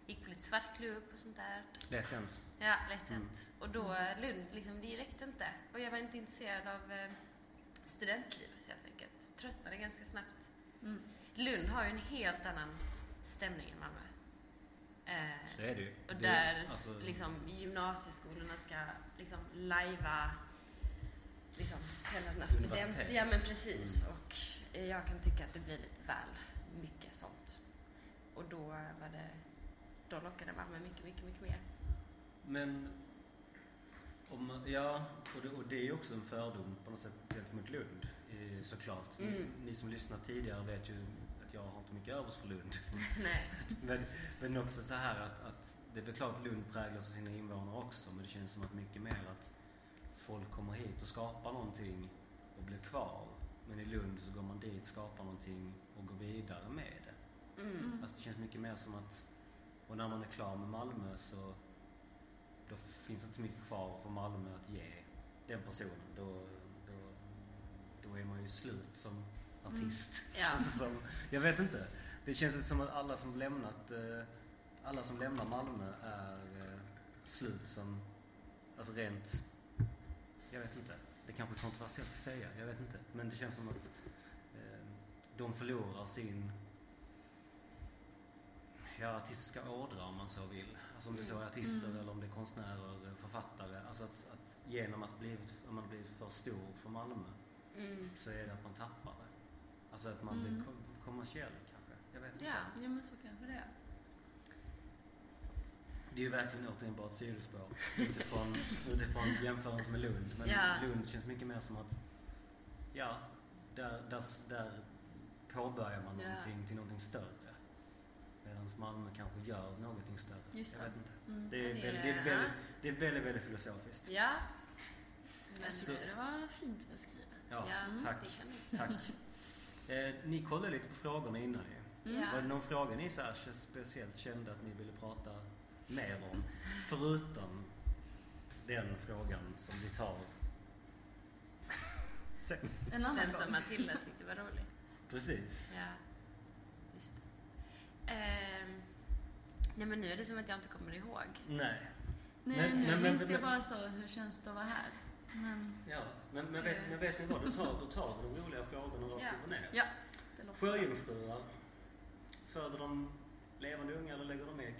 Speaker 2: Gick på lite svartklubb och sånt där.
Speaker 1: Lätt hänt.
Speaker 2: Ja, lätt hänt. Och då eh, Lund, liksom, det räckte inte. Och jag var inte intresserad av eh, studentlivet helt enkelt. Tröttnade ganska snabbt.
Speaker 3: Mm.
Speaker 2: Lund har ju en helt annan stämning än Malmö. Eh,
Speaker 1: Så är det ju.
Speaker 2: och
Speaker 1: Det-
Speaker 2: där
Speaker 1: alltså-
Speaker 2: liksom, gymnasieskolorna ska liksom lajva liksom, hela den här student...
Speaker 1: Universitet. Mm.
Speaker 2: Ja men precis. Och eh, jag kan tycka att det blir lite väl mycket sånt. Och då var det... Då lockade Malmö mycket, mycket, mycket mer.
Speaker 1: Men, om, man- ja, och det, och det är ju också en fördom på något sätt gentemot Lund, eh, såklart. Ni,
Speaker 2: Mm.
Speaker 1: ni som lyssnat tidigare vet ju att jag har inte mycket övers för Lund.
Speaker 2: Nej.
Speaker 1: men, men också så här att, att det är väl klart att Lund präglas av sina invånare också, men det känns som att mycket mer att folk kommer hit och skapar någonting och blir kvar. Men i Lund så går man dit, skapar någonting och går vidare med det.
Speaker 2: Mm.
Speaker 3: Mm.
Speaker 1: Alltså det känns mycket mer som att, och när man är klar med Malmö så då finns det inte så mycket kvar för Malmö att ge den personen. Då, då, då är man ju slut som artist.
Speaker 2: Ja.
Speaker 1: Alltså som, jag vet inte. Det känns ju som att alla som lämnat, eh, alla som lämnar Malmö är eh, slut som, alltså rent, jag vet inte. Det kanske är kontroversiellt att säga, jag vet inte. Men det känns som att eh, de förlorar sin ja, artistiska ådra om man så vill. Alltså om det så är artister
Speaker 3: Mm.
Speaker 1: eller om det är konstnärer, eh, författare. Alltså att, att genom att blivit, om man blivit för stor för Malmö
Speaker 2: Mm.
Speaker 1: så är det att man tappar det. Alltså att man
Speaker 3: Mm.
Speaker 1: blir kom- Alltså- kommersiell kanske. Jag vet inte.
Speaker 2: Ja.
Speaker 3: Ja, men så kanske det är.
Speaker 1: Det är ju verkligen återigen bara ett sidospår utifrån, utifrån jämförelse med Lund. Men
Speaker 2: Ja.
Speaker 1: Lund känns mycket mer som att, ja, där, där, där påbörjar man
Speaker 2: Ja.
Speaker 1: någonting till någonting större. Medan Malmö kanske gör någonting större.
Speaker 3: Just
Speaker 1: Jag
Speaker 3: det.
Speaker 1: vet inte.
Speaker 3: Mm.
Speaker 1: Det är,
Speaker 2: Ja, det
Speaker 1: väldigt,
Speaker 2: är-
Speaker 1: det är, väldigt, det är väldigt, väldigt filosofiskt.
Speaker 2: Ja. Men,
Speaker 4: Jag tyckte
Speaker 1: Så-
Speaker 4: det var fint beskrivet.
Speaker 1: Ja,
Speaker 2: ja,
Speaker 1: tack.
Speaker 2: Det kan du
Speaker 1: Tack. Eh, ni kollade lite på frågorna innan ju.
Speaker 2: Mm.
Speaker 1: Var det någon fråga ni så här speciellt kände att ni ville prata mer om? Förutom den frågan som vi tar sen.
Speaker 4: En annan
Speaker 2: Den
Speaker 4: gång.
Speaker 2: som Matilda tyckte var rolig.
Speaker 1: Precis.
Speaker 2: Ja, just det. Ehm, nej men nu är det som att jag inte kommer ihåg.
Speaker 1: Nej.
Speaker 4: Nej,
Speaker 1: Men-
Speaker 4: nu
Speaker 1: men- men-
Speaker 4: minns
Speaker 1: men-
Speaker 4: jag bara så, hur känns det att vara här? Men
Speaker 1: Ja. Men, men, vet, men vet ni vad? Du tar, du tar de roliga frågorna rakt
Speaker 2: Ja.
Speaker 1: upp och ner.
Speaker 4: ja, det låter bra.
Speaker 1: Sjöjungfruar. Föder de levande unga eller lägger de ägg?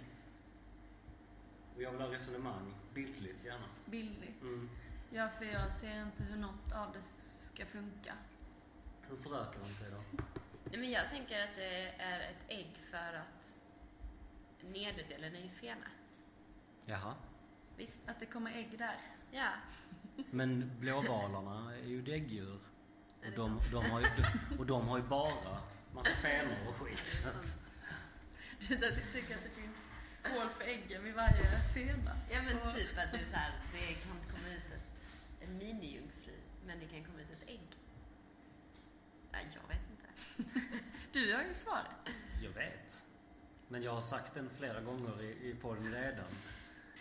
Speaker 1: Och jag vill ha resonemang, bildligt gärna.
Speaker 4: bildligt.
Speaker 1: Mm.
Speaker 4: Ja, för jag ser inte hur något av det ska funka.
Speaker 1: Hur förökar de sig då?
Speaker 2: Nej men jag tänker att det är ett ägg för att nederdelen är ju fena.
Speaker 1: Jaha.
Speaker 2: Visst?
Speaker 4: Att det kommer ägg där.
Speaker 2: Ja.
Speaker 1: Men blåvalarna är ju däggdjur.
Speaker 2: Ja,
Speaker 1: Och
Speaker 2: det är
Speaker 1: de, de har ju, och de har ju bara massa fenor och skit. Så att,
Speaker 4: Du tycker att det finns hål för äggen vid varje fena.
Speaker 2: Ja men
Speaker 4: Och-
Speaker 2: typ att det är så här, det kan inte komma ut ett, en minijungfru, men det kan komma ut ett ägg. Nej, jag vet inte.
Speaker 4: Du har ju svaret.
Speaker 1: jag vet. Men jag har sagt den flera gånger i, i podden redan.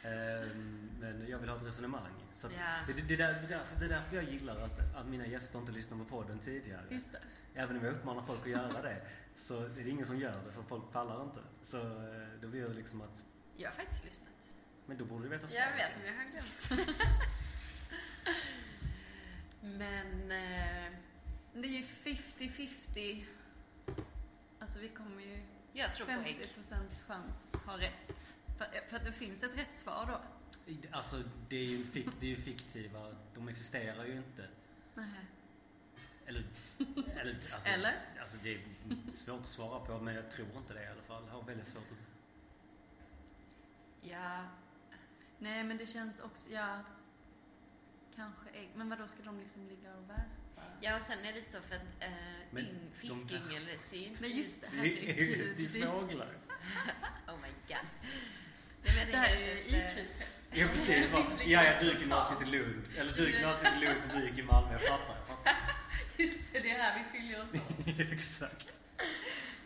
Speaker 1: Ehm, men jag vill ha ett resonemang. Så att,
Speaker 2: Ja.
Speaker 1: det, det, det, där, det, är därför, det är därför jag gillar att, att mina gäster inte lyssnar på podden tidigare.
Speaker 4: Just det.
Speaker 1: Även om jag uppmanar folk att göra det så är det ingen som gör det för folk pallar inte. Så eh, då blir det liksom att,
Speaker 2: Jag har faktiskt lyssnat.
Speaker 1: men då borde du veta
Speaker 2: Jag
Speaker 1: svaret.
Speaker 2: vet, men jag har glömt. men... Eh,
Speaker 4: Det är ju 50-50. Alltså vi kommer ju...
Speaker 2: jag tror på ägg.
Speaker 4: typ. 50% chans har rätt. För, för att det finns ett rätt svar då.
Speaker 1: Alltså det är ju, fik, det är ju fiktiva, de existerar ju inte.
Speaker 4: Nej.
Speaker 1: Eller? Eller? Alltså,
Speaker 4: Eller?
Speaker 1: alltså det är svårt att svara på men jag tror inte det i alla fall. Jag har väldigt svårt att...
Speaker 2: Ja,
Speaker 4: Nej, men det känns också... Ja, kanske ägg. Men vadå, ska de liksom ligga och värpa?
Speaker 2: ja, och sen är det lite så för att eh,
Speaker 1: Men
Speaker 2: yng,
Speaker 1: de-
Speaker 2: fiskyngel det ser ju inte
Speaker 4: Nej, just
Speaker 2: ut.
Speaker 4: det.
Speaker 1: Det är ju
Speaker 4: Herregud,
Speaker 1: det är
Speaker 4: det-
Speaker 1: fåglar.
Speaker 2: Oh my god. Nej, men
Speaker 4: Det här är
Speaker 2: helt, eh,
Speaker 4: IQ-test.
Speaker 1: Ja precis. Va? Ja, jag
Speaker 4: liksom
Speaker 1: du gymnasiet i Lund. Eller du gymnasiet i Lund och du gick i Malmö. Jag fattar. Jag fattar.
Speaker 3: Just det, det är här vi skiljer oss åt.
Speaker 1: Exakt.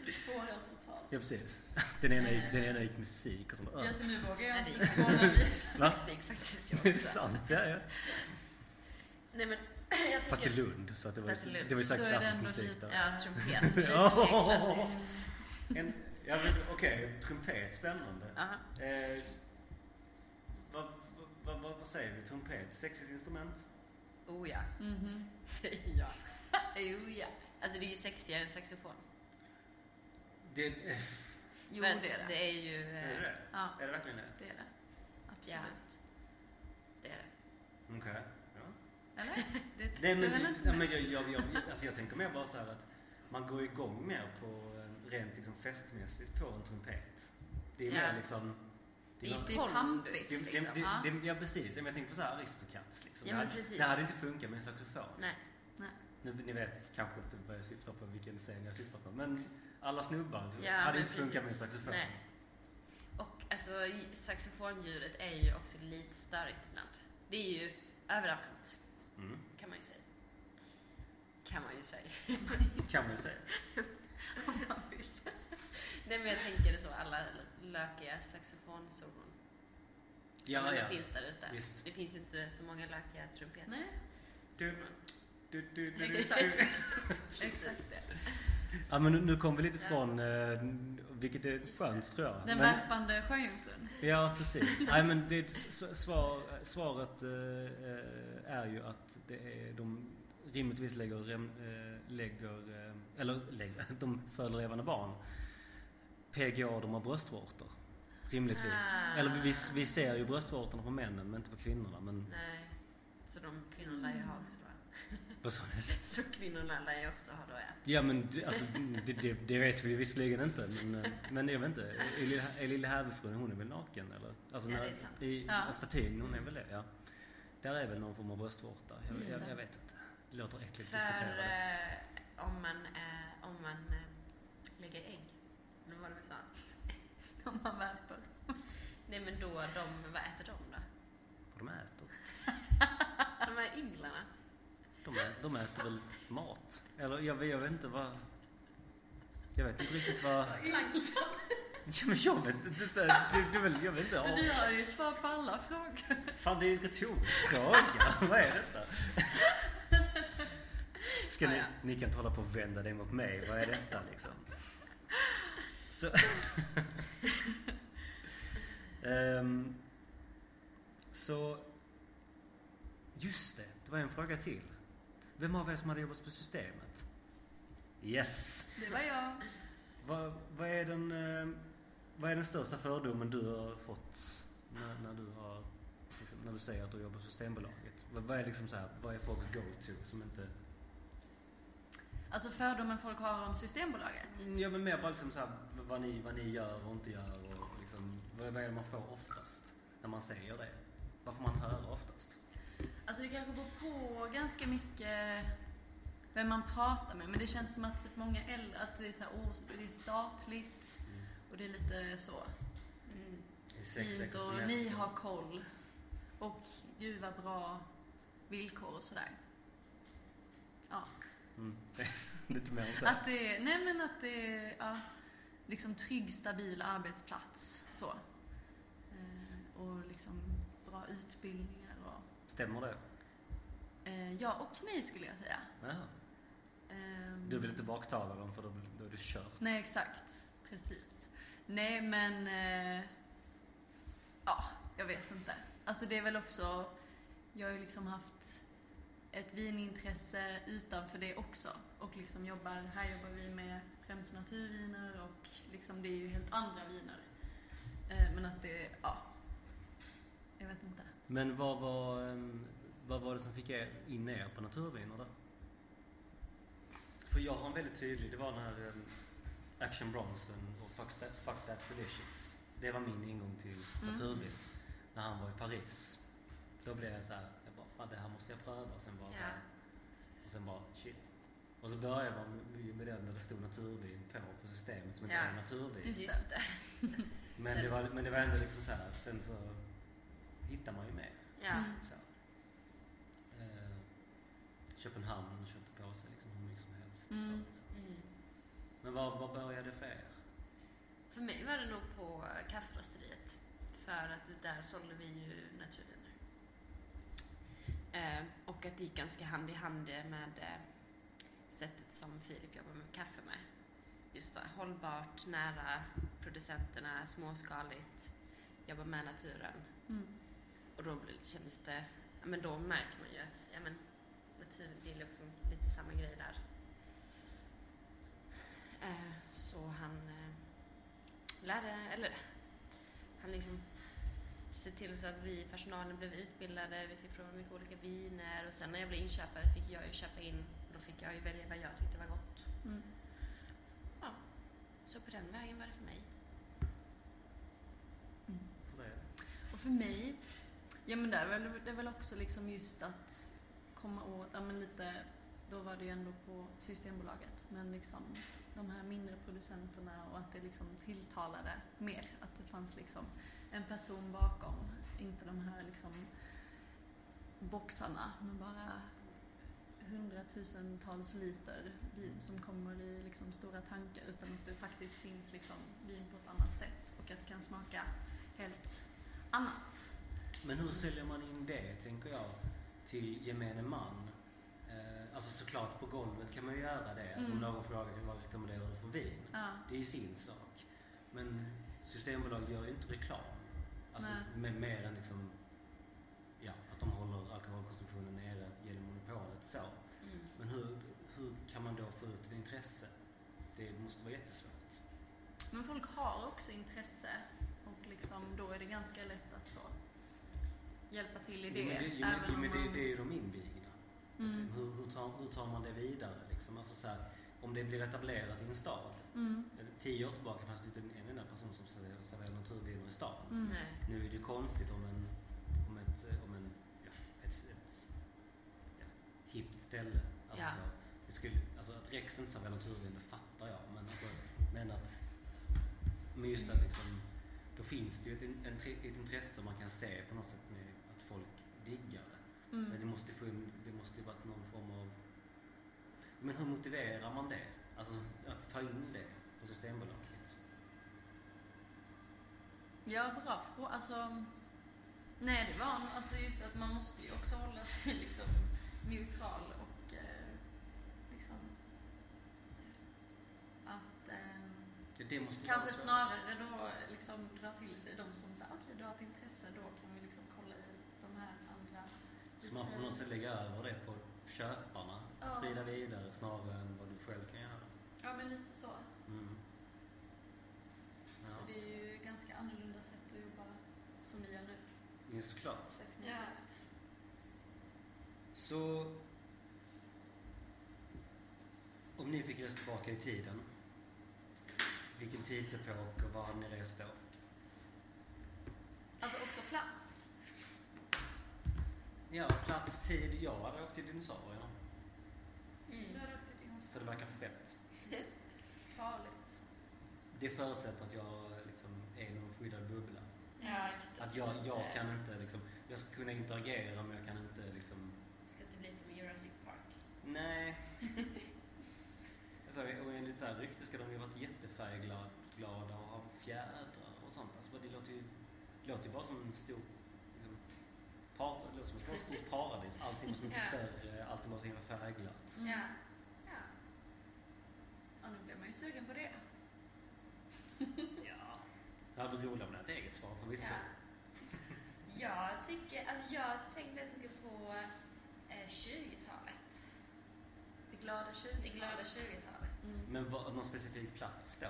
Speaker 3: Vi spårar totalt.
Speaker 1: Ja precis. Den ena, gick- den ena gick musik och sånt.
Speaker 3: Ja, så nu vågar
Speaker 2: Nej,
Speaker 3: jag
Speaker 2: det
Speaker 3: inte
Speaker 2: gick
Speaker 3: spåna vidare.
Speaker 2: faktiskt-
Speaker 1: Va?
Speaker 2: det gick faktiskt
Speaker 1: Det
Speaker 2: jag
Speaker 1: är
Speaker 2: också.
Speaker 1: sant. Ja, ja.
Speaker 2: Nej, men jag
Speaker 1: Fast i
Speaker 2: tänker...
Speaker 1: Lund. Så att det var
Speaker 2: Fast i
Speaker 1: ju
Speaker 2: Lund.
Speaker 1: det var ju så här
Speaker 4: Då är det
Speaker 1: klassisk
Speaker 4: ändå
Speaker 1: musik
Speaker 4: lite-
Speaker 1: där.
Speaker 2: Ja, trumpet. Det är
Speaker 1: Ja.
Speaker 2: mer klassiskt.
Speaker 1: En- Ja, men Okej, trumpet. Spännande.
Speaker 2: Aha.
Speaker 1: Eh, vad, vad, vad, vad säger vi? Trumpet? Sexigt instrument?
Speaker 2: Oh ja,
Speaker 4: Mhm.
Speaker 2: säger jag.
Speaker 4: Jo, ja.
Speaker 2: Alltså det är ju sexigare än saxofon.
Speaker 1: Det,
Speaker 4: Jo,
Speaker 2: För att
Speaker 4: det är det.
Speaker 2: Det är ju... eh,
Speaker 1: är det det?
Speaker 4: Ja,
Speaker 1: Är det verkligen det?
Speaker 4: det är det. Absolut.
Speaker 2: Det är det.
Speaker 1: Okej. Ja.
Speaker 4: Eller? Det,
Speaker 1: Nej,
Speaker 4: det är
Speaker 1: men,
Speaker 4: väl
Speaker 1: ja,
Speaker 4: inte...
Speaker 1: men jag, jag, jag, alltså jag tänker mer bara så här att man går igång mer på eh, rent liksom festmässigt på en trumpet. Det är
Speaker 2: Ja.
Speaker 1: mer liksom...
Speaker 2: Det är
Speaker 1: något-
Speaker 4: Det
Speaker 2: ju
Speaker 4: är
Speaker 2: pondus
Speaker 4: pampigt,
Speaker 1: det,
Speaker 2: liksom.
Speaker 1: det, det,
Speaker 4: ja.
Speaker 1: det, ja precis, men jag tänker på så här Aristocats liksom.
Speaker 2: Ja,
Speaker 1: det,
Speaker 2: men
Speaker 1: hade,
Speaker 2: precis.
Speaker 1: det hade inte funkat med en saxofon.
Speaker 2: Nej.
Speaker 1: Nu, ni vet kanske inte vad jag syftar på, vilken scen jag syftar på. Men alla snubbar
Speaker 2: Ja,
Speaker 1: hade
Speaker 2: men
Speaker 1: inte funkat med en
Speaker 2: precis.
Speaker 1: saxofon.
Speaker 2: Nej. Och alltså saxofonljudet är ju också lite störigt ibland. Det är ju överanvänt
Speaker 1: Mm.
Speaker 2: kan man ju säga. Kan man ju säga.
Speaker 1: Kan man ju säga.
Speaker 2: Om man vill. Nej men jag tänker så, alla lökiga saxofonsolon som
Speaker 1: Ja,
Speaker 2: ändå
Speaker 1: ja.
Speaker 2: finns där ute.
Speaker 1: Visst.
Speaker 2: Det finns ju inte så många lökiga trumpeter.
Speaker 4: Nej.
Speaker 1: Du- Du, du, du, du,
Speaker 2: Exakt.
Speaker 1: du.
Speaker 2: Exakt.
Speaker 1: Ja, men nu- nu kom vi lite ifrån, eh, vilket är skönt tror jag.
Speaker 4: Den
Speaker 1: Men,
Speaker 4: värpande sjöjungfrun.
Speaker 1: ja, precis. Nej, men det, s- s- svar, svaret eh, eh, är ju att det är, de rimligtvis lägger, rem, eh, lägger eh, eller lägger, de föder levande barn. PGA, de har bröstvårtor. Rimligtvis.
Speaker 2: Ah.
Speaker 1: Eller vi, vi ser ju bröstvårtorna på männen men inte på kvinnorna. Men
Speaker 2: Nej. Så de kvinnorna jag har också va?
Speaker 1: Vad sa du?
Speaker 2: Så kvinnorna lär ju också ha då ja.
Speaker 1: Ja men det- alltså, det, det, det vet vi visserligen inte men, eh, men jag vet inte. Är lilla- Är lilla hävefrun, hon är väl naken eller? Alltså,
Speaker 2: Ja,
Speaker 1: när,
Speaker 2: det är sant.
Speaker 1: I
Speaker 3: Ja.
Speaker 1: ja. statyn, hon är väl det ja. Där är väl någon form av bröstvårta.
Speaker 3: Just
Speaker 1: Jag, jag,
Speaker 3: det.
Speaker 1: jag vet inte. Det låter äckligt att
Speaker 2: För
Speaker 1: diskutera det.
Speaker 2: eh, om man, eh, om man eh, lägger ägg, eller vad det vi sa.
Speaker 3: Om man värper.
Speaker 2: Nej men då, de, vad äter de då?
Speaker 1: Vad de äter.
Speaker 2: De här ynglarna.
Speaker 1: De, ä, de äter väl mat? Eller jag, vet- jag vet inte vad... Jag vet inte riktigt vad...
Speaker 5: Plankton.
Speaker 1: Ja, men jag vet inte. så här, Du, du, väl- jag vet inte.
Speaker 3: Men du
Speaker 1: Ja,
Speaker 3: har ju svar på alla frågor.
Speaker 1: fan det är ju en retorisk fråga. Vad är detta? Ska ni,
Speaker 2: Ja,
Speaker 1: ni kan inte hålla på och vända dig mot mig. Vad är detta liksom? Så. Ehm, så. Just det, det var en fråga till. Vem av er som hade jobbat på Systemet? Yes!
Speaker 3: Det var jag.
Speaker 1: Vad, vad, är den, eh, vad är den största fördomen du har fått när, när, du, har, liksom, när du säger att du jobbar på Systembolaget? Vad, vad, är liksom så här, vad är folks go-to som inte...
Speaker 3: Alltså fördomen folk har om Systembolaget.
Speaker 1: Ja men mer bara liksom så här, vad, ni, vad ni gör och inte gör och liksom, vad, vad är det man får oftast när man säger det? Vad får man höra oftast?
Speaker 3: Alltså det kanske beror på ganska mycket vem man pratar med. Men det känns som att typ många äldre, att det är så här, oh, det är statligt och det är lite så. Mm,
Speaker 1: I sex
Speaker 3: Fint
Speaker 1: veckors
Speaker 3: och
Speaker 1: semester.
Speaker 3: ni har koll. Och gud vad bra villkor och sådär. Ja.
Speaker 1: Mm. Lite mer så. här.
Speaker 3: Att det är, nej men att det är, ja, liksom trygg, stabil arbetsplats så. Eh, och liksom bra utbildningar och,
Speaker 1: Stämmer det?
Speaker 3: eh, ja och nej skulle jag säga.
Speaker 1: Jaha.
Speaker 3: Ehm,
Speaker 1: Du vill inte baktala dem för då, då är det kört.
Speaker 3: Nej, exakt. Precis. Nej, men... Eh, ja, jag vet inte. Alltså det är väl också... Jag har ju liksom haft ett vinintresse utanför det också. Och liksom jobbar, här jobbar vi med främst naturviner och liksom det är ju helt andra viner. Eh, men att det, ja. Jag vet inte.
Speaker 1: Men vad var, ehm, vad var det som fick er in er på naturviner då? För jag har en väldigt tydlig, det var den här ehm, Action Bronson och Fuck, that, fuck That's Delicious. Det var min ingång till
Speaker 3: Mm.
Speaker 1: naturvin. När han var i Paris. Då blev jag så här, jag bara, fan det här måste jag pröva. Och sen bara så här, och sen bara shit. Och så började man med- med den där det stod naturvin på, på systemet som inte
Speaker 2: Ja. Mm.
Speaker 1: var naturvin.
Speaker 3: Just det.
Speaker 2: Just det.
Speaker 1: Men det, var, men det var ändå liksom så här, sen så hittar man ju mer.
Speaker 2: Ja.
Speaker 3: Mm.
Speaker 1: Så. Eh, Köpenhamn köpte på sig liksom hur mycket som helst.
Speaker 3: Mm.
Speaker 1: Så, liksom.
Speaker 2: Mm.
Speaker 1: Men var, var började det för er?
Speaker 2: För mig var det nog på kafferosteriet. För att där sålde vi ju naturviner. Eh, och att det gick ganska hand i hand med eh, sättet som Filip jobbar med kaffe med. Just det, hållbart, nära producenterna, småskaligt, jobba med naturen.
Speaker 3: Mm.
Speaker 2: Och då blir- kändes det, ja men då märker man ju att, ja men naturen, det är liksom lite samma grej där. Eh, så han eh, lärde, eller han liksom se till så att vi i personalen blev utbildade, vi fick prova mycket olika viner och sen när jag blev inköpare fick jag ju köpa in och då fick jag ju välja vad jag tyckte var gott.
Speaker 3: Mm.
Speaker 2: Så på den vägen var det för mig.
Speaker 3: Mm.
Speaker 1: För det?
Speaker 3: Och för mig, ja men det är väl, det är väl också liksom just att komma åt, ja men lite, då var det ju ändå på Systembolaget, men liksom de här mindre producenterna och att det liksom tilltalade mer, att det fanns liksom en person bakom, inte de här liksom boxarna, men bara hundratusentals liter vin som kommer i liksom stora tankar utan att det faktiskt finns liksom vin på ett annat sätt och att det kan smaka helt annat.
Speaker 1: Men hur säljer man in det, tänker jag, till gemene man? Eh, alltså såklart på golvet kan man ju göra det. Alltså om
Speaker 3: Mm.
Speaker 1: någon frågar vad rekommenderar du för vin?
Speaker 3: Ja.
Speaker 1: Det är ju sin sak. Men Systembolaget gör ju inte reklam. Alltså
Speaker 3: Nej.
Speaker 1: med, mer än liksom, ja, att de håller alkoholkonsumtionen nere genom monopolet så.
Speaker 2: Mm.
Speaker 1: Men hur, hur kan man då få ut ett intresse? Det måste vara jättesvårt.
Speaker 3: Men folk har också intresse och liksom, då är det ganska lätt att så hjälpa till i det.
Speaker 1: Jo, men det, jo, men,
Speaker 3: även
Speaker 1: jo,
Speaker 3: om
Speaker 1: men det,
Speaker 3: man-
Speaker 1: det är ju de invigda.
Speaker 4: Mm.
Speaker 1: Liksom. Hur, hur, tar, hur tar man det vidare? Liksom? Alltså så här, om det blir etablerat i en stad.
Speaker 4: Mm.
Speaker 1: Eh, Tio år tillbaka fanns det inte en enda person som serverade- serverade naturviner i stan.
Speaker 4: Mm.
Speaker 2: Nej.
Speaker 1: Nu är det ju konstigt om en, om ett, eh, om en, ja, ett, ett ja, hippt ställe. Alltså,
Speaker 2: Ja.
Speaker 1: det skulle, alltså att Rex inte serverar naturvin, det fattar jag. Men, alltså, men att, men just att liksom, då finns det ju ett, in- en, tre- ett intresse man kan se på något sätt med att folk diggar det. Men det
Speaker 4: Mm.
Speaker 1: måste ju det måste ju varit någon form av... Men hur motiverar man det? Alltså att ta in det på Systembolaget?
Speaker 4: Ja, bra fråga. Alltså,
Speaker 3: Nej, det var nog- alltså just att man måste ju också hålla sig liksom neutral och eh, liksom att eh,
Speaker 1: Det, det måste ju
Speaker 3: kanske
Speaker 1: vara så.
Speaker 3: snarare då liksom dra till sig de som säger okej, du har ett intresse, då kan vi liksom kolla i de här andra.
Speaker 1: Så man får på något sätt lägga över det på köparna.
Speaker 3: Ja.
Speaker 1: Sprida vidare snarare än vad du själv kan göra.
Speaker 3: Ja, men lite så.
Speaker 1: Mm. Ja,
Speaker 3: Så det är ju ganska annorlunda sätt att jobba som vi gör nu.
Speaker 1: det är såklart.
Speaker 3: Definitivt.
Speaker 1: Så... Om ni fick resa tillbaka i tiden, vilken tidsepok och var hade ni rest då?
Speaker 3: Alltså också plats.
Speaker 1: Ja, plats, tid. Jag hade åkt till dinosaurierna.
Speaker 3: Du
Speaker 2: Mm.
Speaker 3: har åkt till
Speaker 1: För det
Speaker 3: dinosaurier.
Speaker 1: verkar fett.
Speaker 3: Farligt.
Speaker 1: Det förutsätter att jag liksom är i någon skyddad bubbla.
Speaker 2: Ja,
Speaker 1: Att jag, jag kan inte liksom, jag ska kunna interagera men jag kan inte liksom,
Speaker 2: Ska inte bli som i Jurassic Park.
Speaker 1: nej. alltså, och enligt så här rykte ska de ju ha varit jättefärgglada och ha fjädrar och sånt. Alltså, det låter ju, det låter ju bara som en stor, liksom, par, det låter som ett stort paradis. Allting var så mycket
Speaker 3: Ja.
Speaker 1: större, allting var så himla färgglatt.
Speaker 2: Mm.
Speaker 3: Ja. ja. Ja, nu blir man ju sugen på det.
Speaker 1: Ja. Det hade varit roligare med ett eget svar förvisso.
Speaker 2: Jag tycker, alltså jag tänker väldigt mycket på eh, 20-talet.
Speaker 3: Det glada 20
Speaker 2: Det glada 20-talet.
Speaker 4: mm.
Speaker 1: Men var, någon specifik plats då?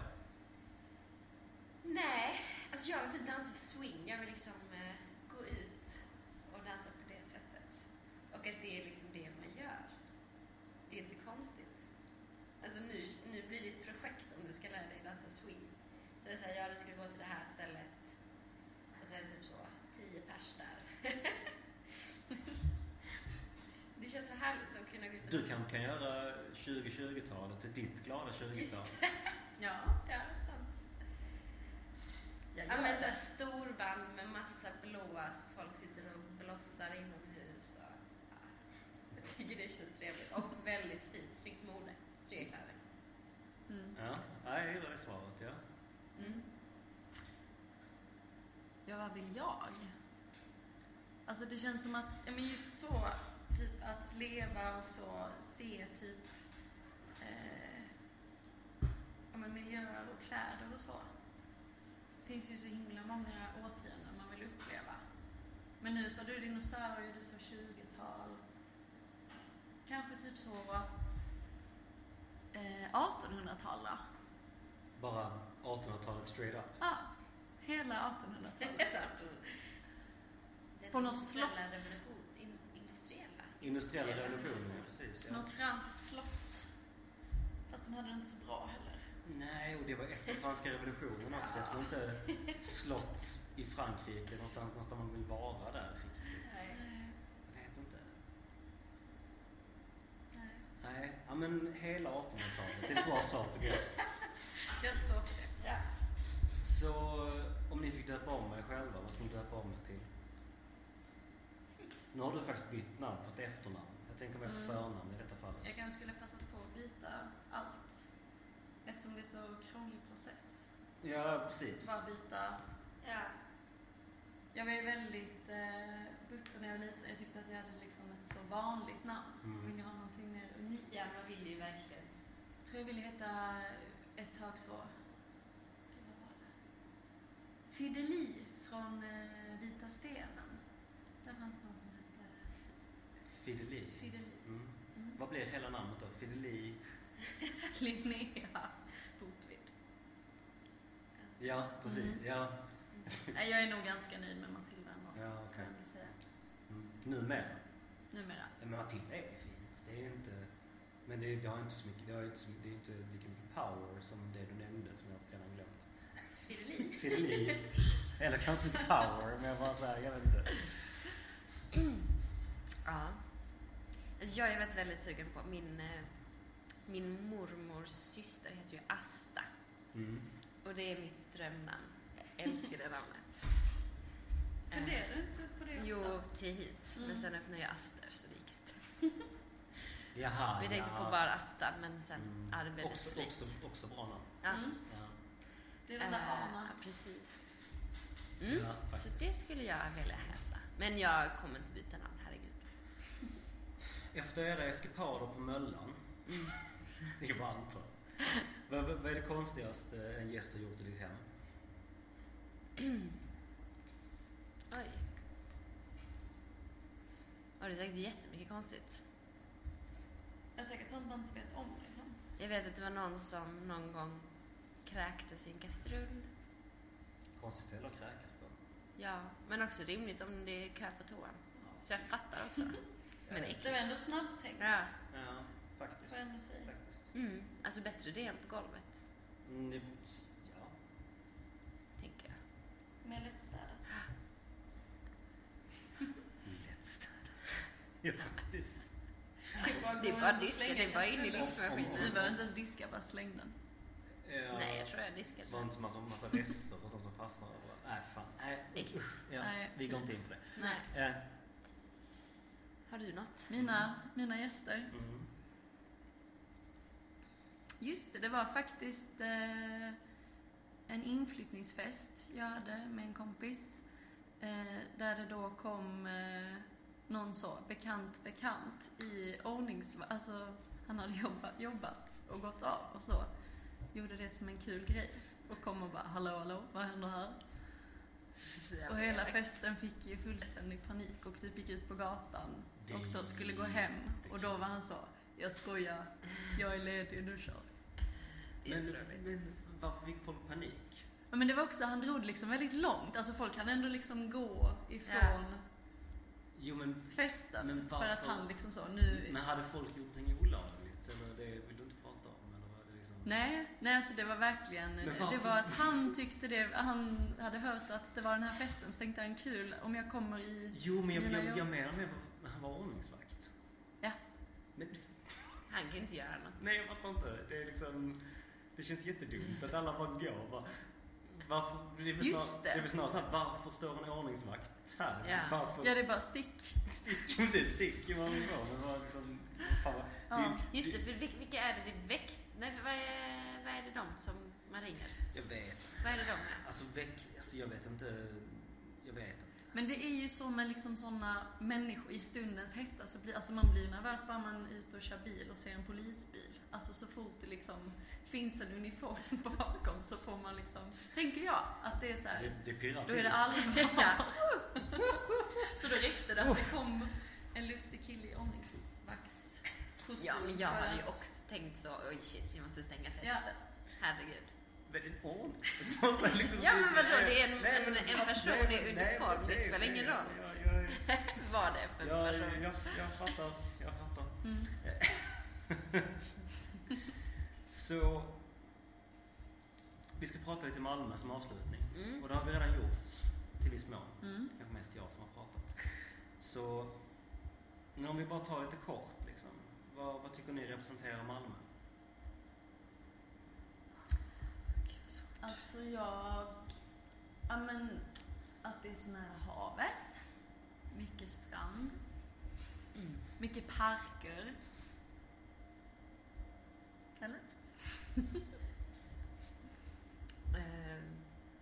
Speaker 2: Nej, alltså jag vill typ dansa swing. Jag vill liksom eh, gå ut och dansa på det sättet. Och att det är liksom det man gör. Det är inte konstigt. Alltså nu, nu blir det ett projekt om du ska lära dig dansa swing. Så det är såhär, ja du ska gå till det här stället. Och så är det typ så, tio pers där. det känns så härligt att kunna gå ut och
Speaker 1: Du kanske kan göra 2020-talet till ditt glada 20-tal?
Speaker 2: Just
Speaker 3: Ja.
Speaker 2: Ja, sant.
Speaker 4: Jag
Speaker 2: Ja
Speaker 4: gör
Speaker 2: men
Speaker 4: det.
Speaker 2: såhär storband med massa blåa så folk sitter och blossar inomhus och ja, jag tycker det känns trevligt och väldigt fint, snyggt mode, snygga kläder.
Speaker 4: Mm.
Speaker 1: Ja, ja, jag gillar det svaret. Ja.
Speaker 4: Mm. Ja, vad vill jag? Alltså det känns som att
Speaker 3: Ja, men just så, typ att leva och så, se typ eh, ja, men miljöer och kläder och så. Det finns ju så himla många årtionden man vill uppleva. Men nu sa du dinosaurier, du sa 20-tal. Kanske typ så
Speaker 4: eh, 1800-tal då?
Speaker 1: Bara 1800-talet straight up.
Speaker 4: Ja, hela 1800-talet.
Speaker 2: Den
Speaker 4: På något
Speaker 2: industriella
Speaker 4: slott.
Speaker 2: revolution- in- Industriella?
Speaker 1: Industriella revolutionen, ja, precis. Ja.
Speaker 3: något franskt slott. Fast de hade det inte så bra heller.
Speaker 1: Nej, och det var efter franska revolutionen också. Jag tror inte slott i Frankrike, någonstans, någonstans man vill vara där riktigt.
Speaker 2: Nej.
Speaker 3: Nej,
Speaker 1: Jag vet inte.
Speaker 3: nej.
Speaker 1: Nej, ja, men hela 1800-talet. Det är ett bra svar tycker jag.
Speaker 3: Jag står för det.
Speaker 2: Ja.
Speaker 1: Så om ni fick döpa om er själva, vad skulle ni döpa om er till? Nu har du faktiskt bytt namn, fast efternamn. Jag tänker mer på
Speaker 3: Mm.
Speaker 1: förnamn i detta
Speaker 3: Jag
Speaker 1: fallet.
Speaker 3: kanske skulle ha passat på att byta allt. Eftersom det är så krånglig process.
Speaker 1: Ja, precis.
Speaker 3: Bara byta.
Speaker 2: ja.
Speaker 3: Jag var ju väldigt eh, butter när jag var liten. Jag tyckte att jag hade liksom ett så vanligt namn.
Speaker 1: Mm.
Speaker 3: Vill jag ha någonting mer unikt?
Speaker 2: Ja, man vill ju verkligen.
Speaker 3: Jag tror jag ville heta eh, ett tag så... Gud, vad var det? Fideli från eh, Vita stenen. Där fanns någon som hette
Speaker 1: Fideli.
Speaker 3: Fideli.
Speaker 1: Mm.
Speaker 3: Mm.
Speaker 1: Vad blir hela namnet då? Fideli?
Speaker 4: Linnea Botvid.
Speaker 1: Ja, precis.
Speaker 4: Mm.
Speaker 1: Ja,
Speaker 4: Nej, Jag är nog ganska nöjd med Matilda ändå,
Speaker 1: ja
Speaker 4: kan
Speaker 1: okej.
Speaker 4: jag nog säga.
Speaker 1: Mm. Numera.
Speaker 4: Numera.
Speaker 1: Men Matilda är ju fin. Det är inte... Men det, det har inte så mycket... Det, har inte, så- det är inte lika mycket power som det du nämnde som jag redan har glömt.
Speaker 2: Fidelin.
Speaker 1: Fiddeli. Eller kanske inte power, men bara såhär, jag vet inte.
Speaker 2: Ja. Alltså, Jag har ju varit väldigt sugen på min, eh, min mormors syster heter ju Asta
Speaker 1: Mm.
Speaker 2: och det är mitt drömnamn. Jag älskar det namnet.
Speaker 6: Funderar du inte på det
Speaker 2: Eh, Jo,
Speaker 6: också?
Speaker 2: till hit. Men
Speaker 6: Mm.
Speaker 2: sen öppnade jag Aster så det gick inte.
Speaker 1: Jaha,
Speaker 2: Vi tänkte på
Speaker 1: Ah, ja.
Speaker 2: bara Asta men sen
Speaker 1: Mm.
Speaker 2: ja, det blev
Speaker 1: också,
Speaker 2: lite
Speaker 1: också, också bra namn.
Speaker 2: Ja.
Speaker 6: Mm.
Speaker 1: Ja.
Speaker 6: Det är den där
Speaker 2: Eh,
Speaker 6: anan.
Speaker 2: ja, precis. Mm.
Speaker 1: Ja,
Speaker 2: så
Speaker 1: faktiskt.
Speaker 2: det skulle jag vilja heta. Men jag kommer inte byta namn, herregud.
Speaker 1: Efter era eskipader på Möllan,
Speaker 2: Mm.
Speaker 1: vilket bara antar. Vad, vad vad är det konstigaste en gäst har gjort i ditt hem?
Speaker 2: Oj. Har du sagt jättemycket konstigt?
Speaker 6: Det är säkert sånt man inte vet om liksom.
Speaker 2: Jag vet att det var någon som någon gång kräktes i en kastrull.
Speaker 1: Konstigt ställe att kräkas på.
Speaker 2: Ja, men också rimligt om det är kö på toan. Så jag fattar också. Men äckligt.
Speaker 6: Det var ändå snabbtänkt.
Speaker 2: Ja.
Speaker 1: Ja,
Speaker 6: Får
Speaker 1: faktiskt.
Speaker 6: jag ändå säga.
Speaker 1: faktiskt.
Speaker 2: Mm. Alltså bättre det än på golvet,
Speaker 1: Mm, det, ja.
Speaker 2: tänker jag.
Speaker 6: Mer lättstädat.
Speaker 1: Lättstädat. Ja, faktiskt.
Speaker 2: Det är bara diska, det är bara in i
Speaker 1: Om-
Speaker 3: Vi
Speaker 1: om-
Speaker 2: diskmaskinen.
Speaker 3: behöver inte ens diska, bara släng den.
Speaker 1: Ja.
Speaker 2: Nej, jag tror jag
Speaker 1: eh, Det var
Speaker 2: diskade.
Speaker 1: inte så massa, massa rester och sånt som fastnar överallt. Nej, fan. Nej.
Speaker 2: Äckligt.
Speaker 1: Ja,
Speaker 3: Nej,
Speaker 1: vi går inte in på det.
Speaker 2: Nej.
Speaker 1: Eh,
Speaker 2: Har du något?
Speaker 3: Mina, mina gäster.
Speaker 1: mm.
Speaker 3: Just det, det var faktiskt eh, en inflyttningsfest jag hade med en kompis. Eh, där det då kom eh, någon så bekant bekant i ordnings... Alltså, han hade jobbat, jobbat och gått av och så. Gjorde det som en kul grej. Och kom och bara hallå hallå, vad händer här? Och hela festen fick ju fullständig panik och typ gick ut på gatan
Speaker 1: Det är
Speaker 3: och så skulle gå hem. Och då var han så, jag skojar, jag är ledig, nu kör vi."
Speaker 1: men,
Speaker 2: Jätteroligt.
Speaker 1: men varför fick folk panik?
Speaker 3: ja, Men det var också, han drog det liksom väldigt långt, alltså folk hann ändå liksom gå ifrån
Speaker 1: Jo, men,
Speaker 3: festen.
Speaker 1: Men
Speaker 3: för att
Speaker 1: varför?
Speaker 3: han liksom så, nu...
Speaker 1: men hade folk gjort någonting olagligt? Eller det vill du inte prata om? Eller var det liksom...
Speaker 3: Nej, nej alltså det var verkligen,
Speaker 1: Men
Speaker 3: det
Speaker 1: varför?
Speaker 3: var att han tyckte det, han hade hört att det var den här festen så tänkte han kul om jag kommer i
Speaker 1: Jo, men jag,
Speaker 3: Mina
Speaker 1: jag,
Speaker 3: jobb.
Speaker 1: jag menar mer på- han var ordningsvakt.
Speaker 3: Ja.
Speaker 1: Men
Speaker 2: Han kan ju inte göra något.
Speaker 1: nej, jag fattar inte. Det är liksom... Det känns jättedumt att alla bara går. Bara, varför, det är väl
Speaker 3: Just
Speaker 1: snar-
Speaker 3: det.
Speaker 1: Det är väl snarare såhär, varför står en ordningsvakt här?
Speaker 2: Ja.
Speaker 1: Varför?
Speaker 3: Ja, det är bara stick.
Speaker 1: Stick, inte stick i varje gång, men bara liksom... Fan, vad-
Speaker 3: Ja.
Speaker 1: det-
Speaker 2: Just det, för vil- vilka är det det väckt? Nej, för vad är, vad är det de som man ringer?
Speaker 1: Jag vet.
Speaker 2: Vad är det de är?
Speaker 1: Alltså väck... Alltså jag vet inte... Jag vet inte.
Speaker 3: Men det är ju så med liksom såna människor i stundens hetta, så blir, alltså man blir nervös bara man är ute och kör bil och ser en polisbil. Alltså så fort det liksom finns en uniform bakom så får man liksom, tänker jag, att det är så här,
Speaker 1: Det, det pirrar
Speaker 3: då är det allvar. Så då räckte det att det kom en lustig kille i ordningsvaktskostym.
Speaker 2: Ja, men jag
Speaker 3: för
Speaker 2: hade ju
Speaker 3: att-
Speaker 2: också tänkt så, oj shit, vi måste stänga festen.
Speaker 3: Ja.
Speaker 2: Herregud.
Speaker 1: Men en ordning? Det måste liksom-
Speaker 2: Ja, men vadå, det är en-
Speaker 1: Nej,
Speaker 2: en-
Speaker 1: men-
Speaker 2: en person
Speaker 1: nej, men-
Speaker 2: i
Speaker 1: nej,
Speaker 2: uniform,
Speaker 1: men
Speaker 2: det spelar
Speaker 1: nej,
Speaker 2: ingen
Speaker 1: jag-
Speaker 2: roll.
Speaker 1: jag- jag-
Speaker 2: Var det för
Speaker 1: Jag,
Speaker 2: person?
Speaker 1: jag, jag fattar, jag fattar.
Speaker 3: Mm.
Speaker 1: Så vi ska prata lite Malmö som avslutning.
Speaker 2: Mm.
Speaker 1: Och det har vi redan gjort till viss mån.
Speaker 3: Mm.
Speaker 1: Kanske mest jag som har pratat. Så men om vi bara tar lite kort liksom. Vad, vad tycker ni representerar Malmö?
Speaker 3: Alltså jag... Ja men att det är så nära havet. Mycket strand.
Speaker 2: Mm.
Speaker 3: Mycket parker. Eller?
Speaker 2: Eh,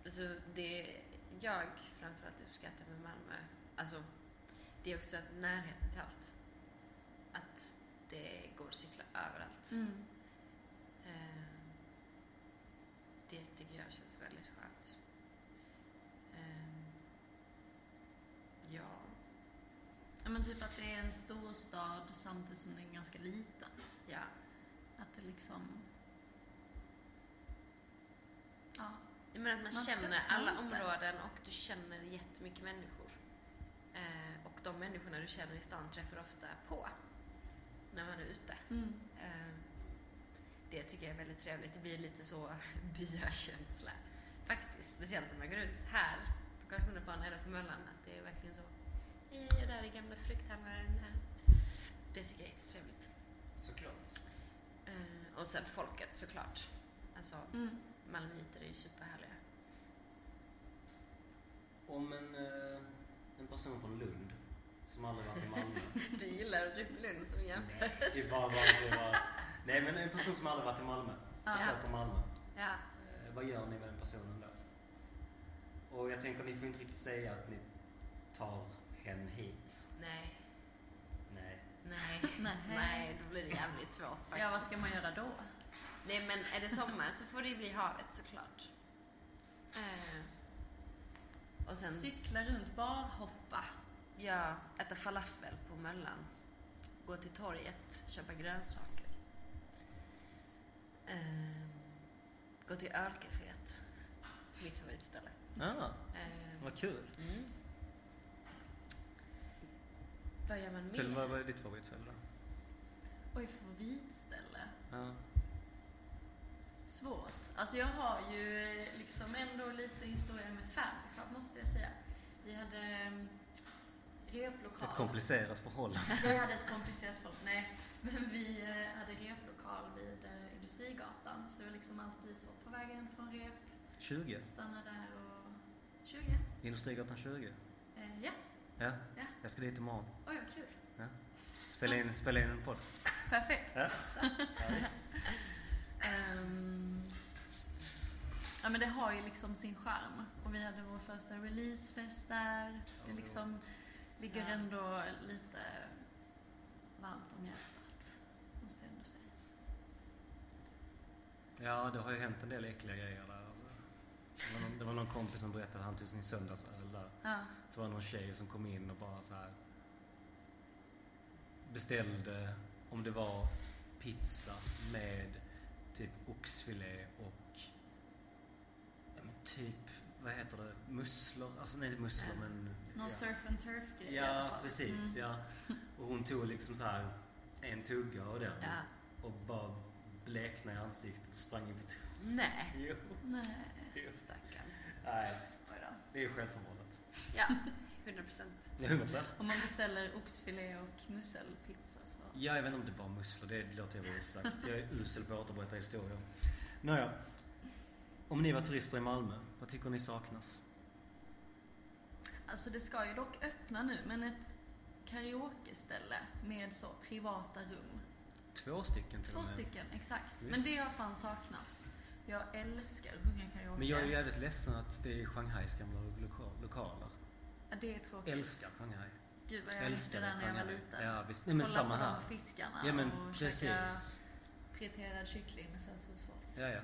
Speaker 2: alltså det jag framförallt uppskattar med Malmö, alltså det är också att närheten till allt. Att det går att cykla överallt.
Speaker 3: Mm.
Speaker 2: Eh, det tycker jag känns väldigt skönt. Eh, ja.
Speaker 3: Ja men typ att det är en stor stad samtidigt som den är ganska liten.
Speaker 2: ja.
Speaker 3: Att det liksom... Ja.
Speaker 2: Jag menar att man,
Speaker 3: Man
Speaker 2: känner
Speaker 3: tröttnar
Speaker 2: alla
Speaker 3: inte.
Speaker 2: områden och du känner jättemycket människor. Eh, och de människorna du känner i stan träffar ofta på när man är ute.
Speaker 4: Mm.
Speaker 2: Eh, Det tycker jag är väldigt trevligt. Det blir lite så byakänsla faktiskt. Speciellt om man går ut här på Karlskronaplan eller på Möllan. Att det är verkligen så. Hej, jag är där i gamla frukthandlaren här. Det tycker jag är jättetrevligt.
Speaker 7: Såklart.
Speaker 2: Eh, Och sen folket såklart. Alltså,
Speaker 4: Mm.
Speaker 2: malmöiter är ju superhärliga.
Speaker 1: Om en, eh, en person från Lund som aldrig varit i Malmö.
Speaker 2: Du gillar typ Lund som jämt.
Speaker 1: Nej, det var, var, det var. Nej men en person som aldrig varit i Malmö.
Speaker 4: Ja.
Speaker 1: Besöker Malmö.
Speaker 2: Ja.
Speaker 1: Eh, vad gör ni med den personen då? Och jag tänker ni får inte riktigt säga att ni tar hen hit.
Speaker 2: Nej.
Speaker 1: Nej.
Speaker 2: Nej.
Speaker 4: Nej.
Speaker 2: Nej, då blir det jävligt svårt faktiskt.
Speaker 4: Ja, vad ska man göra då?
Speaker 2: Nej men är det sommar så får det ju bli havet såklart. Eh, och sen
Speaker 4: Cykla runt, barhoppa.
Speaker 2: ja, äta falafel på Möllan. Gå till torget, köpa grönsaker. Eh, gå till ölcaféet. Mitt favoritställe.
Speaker 1: Ah,
Speaker 2: Eh,
Speaker 1: vad kul.
Speaker 2: mm. Vad gör man
Speaker 1: Kul, vad
Speaker 2: mer?
Speaker 1: var ditt favoritställe då?
Speaker 4: Oj, favoritställe.
Speaker 1: Ja.
Speaker 4: Svårt.
Speaker 3: Alltså jag har ju eh, liksom ändå lite historia med Familyfarm måste jag säga. Vi hade ehm, replokal.
Speaker 1: Ett komplicerat förhållande.
Speaker 3: Vi hade ett komplicerat folk, nej. Men vi eh, hade replokal vid eh, Industrigatan. Så det var liksom alltid så på vägen från rep,
Speaker 1: 20.
Speaker 3: stanna där och 20.
Speaker 1: Industrigatan 20.
Speaker 3: Eh, ja,
Speaker 1: Ja.
Speaker 3: Ja.
Speaker 1: Jag ska dit imorgon.
Speaker 3: oj vad kul.
Speaker 1: Ja. Spela in, spela in en podd.
Speaker 3: Perfekt.
Speaker 1: Ja.
Speaker 4: Ehm, ja men det har ju liksom sin charm. Och vi hade vår första releasefest där. Det liksom ligger
Speaker 2: Ja.
Speaker 4: ändå lite varmt om hjärtat. Måste jag ändå säga.
Speaker 1: Ja, det har ju hänt en del äckliga grejer där. Alltså. Det, var någon, det var någon kompis som berättade att han tog sin söndagsöl där.
Speaker 4: Ja.
Speaker 1: Så var det någon tjej som kom in och bara så här beställde om det var pizza med typ oxfilé och ja, men typ, vad heter det, musslor? Alltså nej inte musslor men...
Speaker 4: Någon
Speaker 1: ja.
Speaker 4: surf and turf grej i alla
Speaker 1: Ja,
Speaker 4: fall.
Speaker 1: precis.
Speaker 4: Mm.
Speaker 1: Ja. Och hon tog liksom så här en tugga av den
Speaker 2: Ja.
Speaker 1: och bara bleknade i ansiktet och sprang in på toaletten.
Speaker 2: Nej.
Speaker 1: Jo.
Speaker 4: Nej.
Speaker 2: Stackarn.
Speaker 1: Nej,
Speaker 4: Oj då.
Speaker 1: det är självförvållat.
Speaker 2: Ja, 100 procent.
Speaker 1: Det är hundra procent.
Speaker 4: Om man beställer oxfilé och musselpizza så.
Speaker 1: Ja, jag vet inte om det var musslor. Det låter jag vara osagt. Jag är usel på att återberätta historier. Nåja. Om ni var turister i Malmö, vad tycker ni saknas?
Speaker 4: Alltså det ska ju dock öppna nu men ett karaokeställe med så privata rum.
Speaker 1: Två stycken till
Speaker 4: Två
Speaker 1: och med.
Speaker 4: stycken, exakt.
Speaker 1: Visst.
Speaker 4: Men det har fan saknats. Jag älskar att sjunga karaoke.
Speaker 1: Men jag är jävligt ledsen att det är Shanghais gamla loka- lokaler.
Speaker 4: ja, det är tråkigt.
Speaker 1: Älskar Shanghai.
Speaker 4: Gud vad jag
Speaker 1: Älskar
Speaker 4: älskade det när jag var
Speaker 1: Shanghai.
Speaker 4: liten.
Speaker 1: Ja, visst. Nej, men
Speaker 4: Kolla
Speaker 1: samma
Speaker 4: på de
Speaker 1: här.
Speaker 4: fiskarna
Speaker 1: Ja, men
Speaker 4: och käka
Speaker 1: precis.
Speaker 4: friterad kyckling med sötsursås.
Speaker 1: Ja, ja.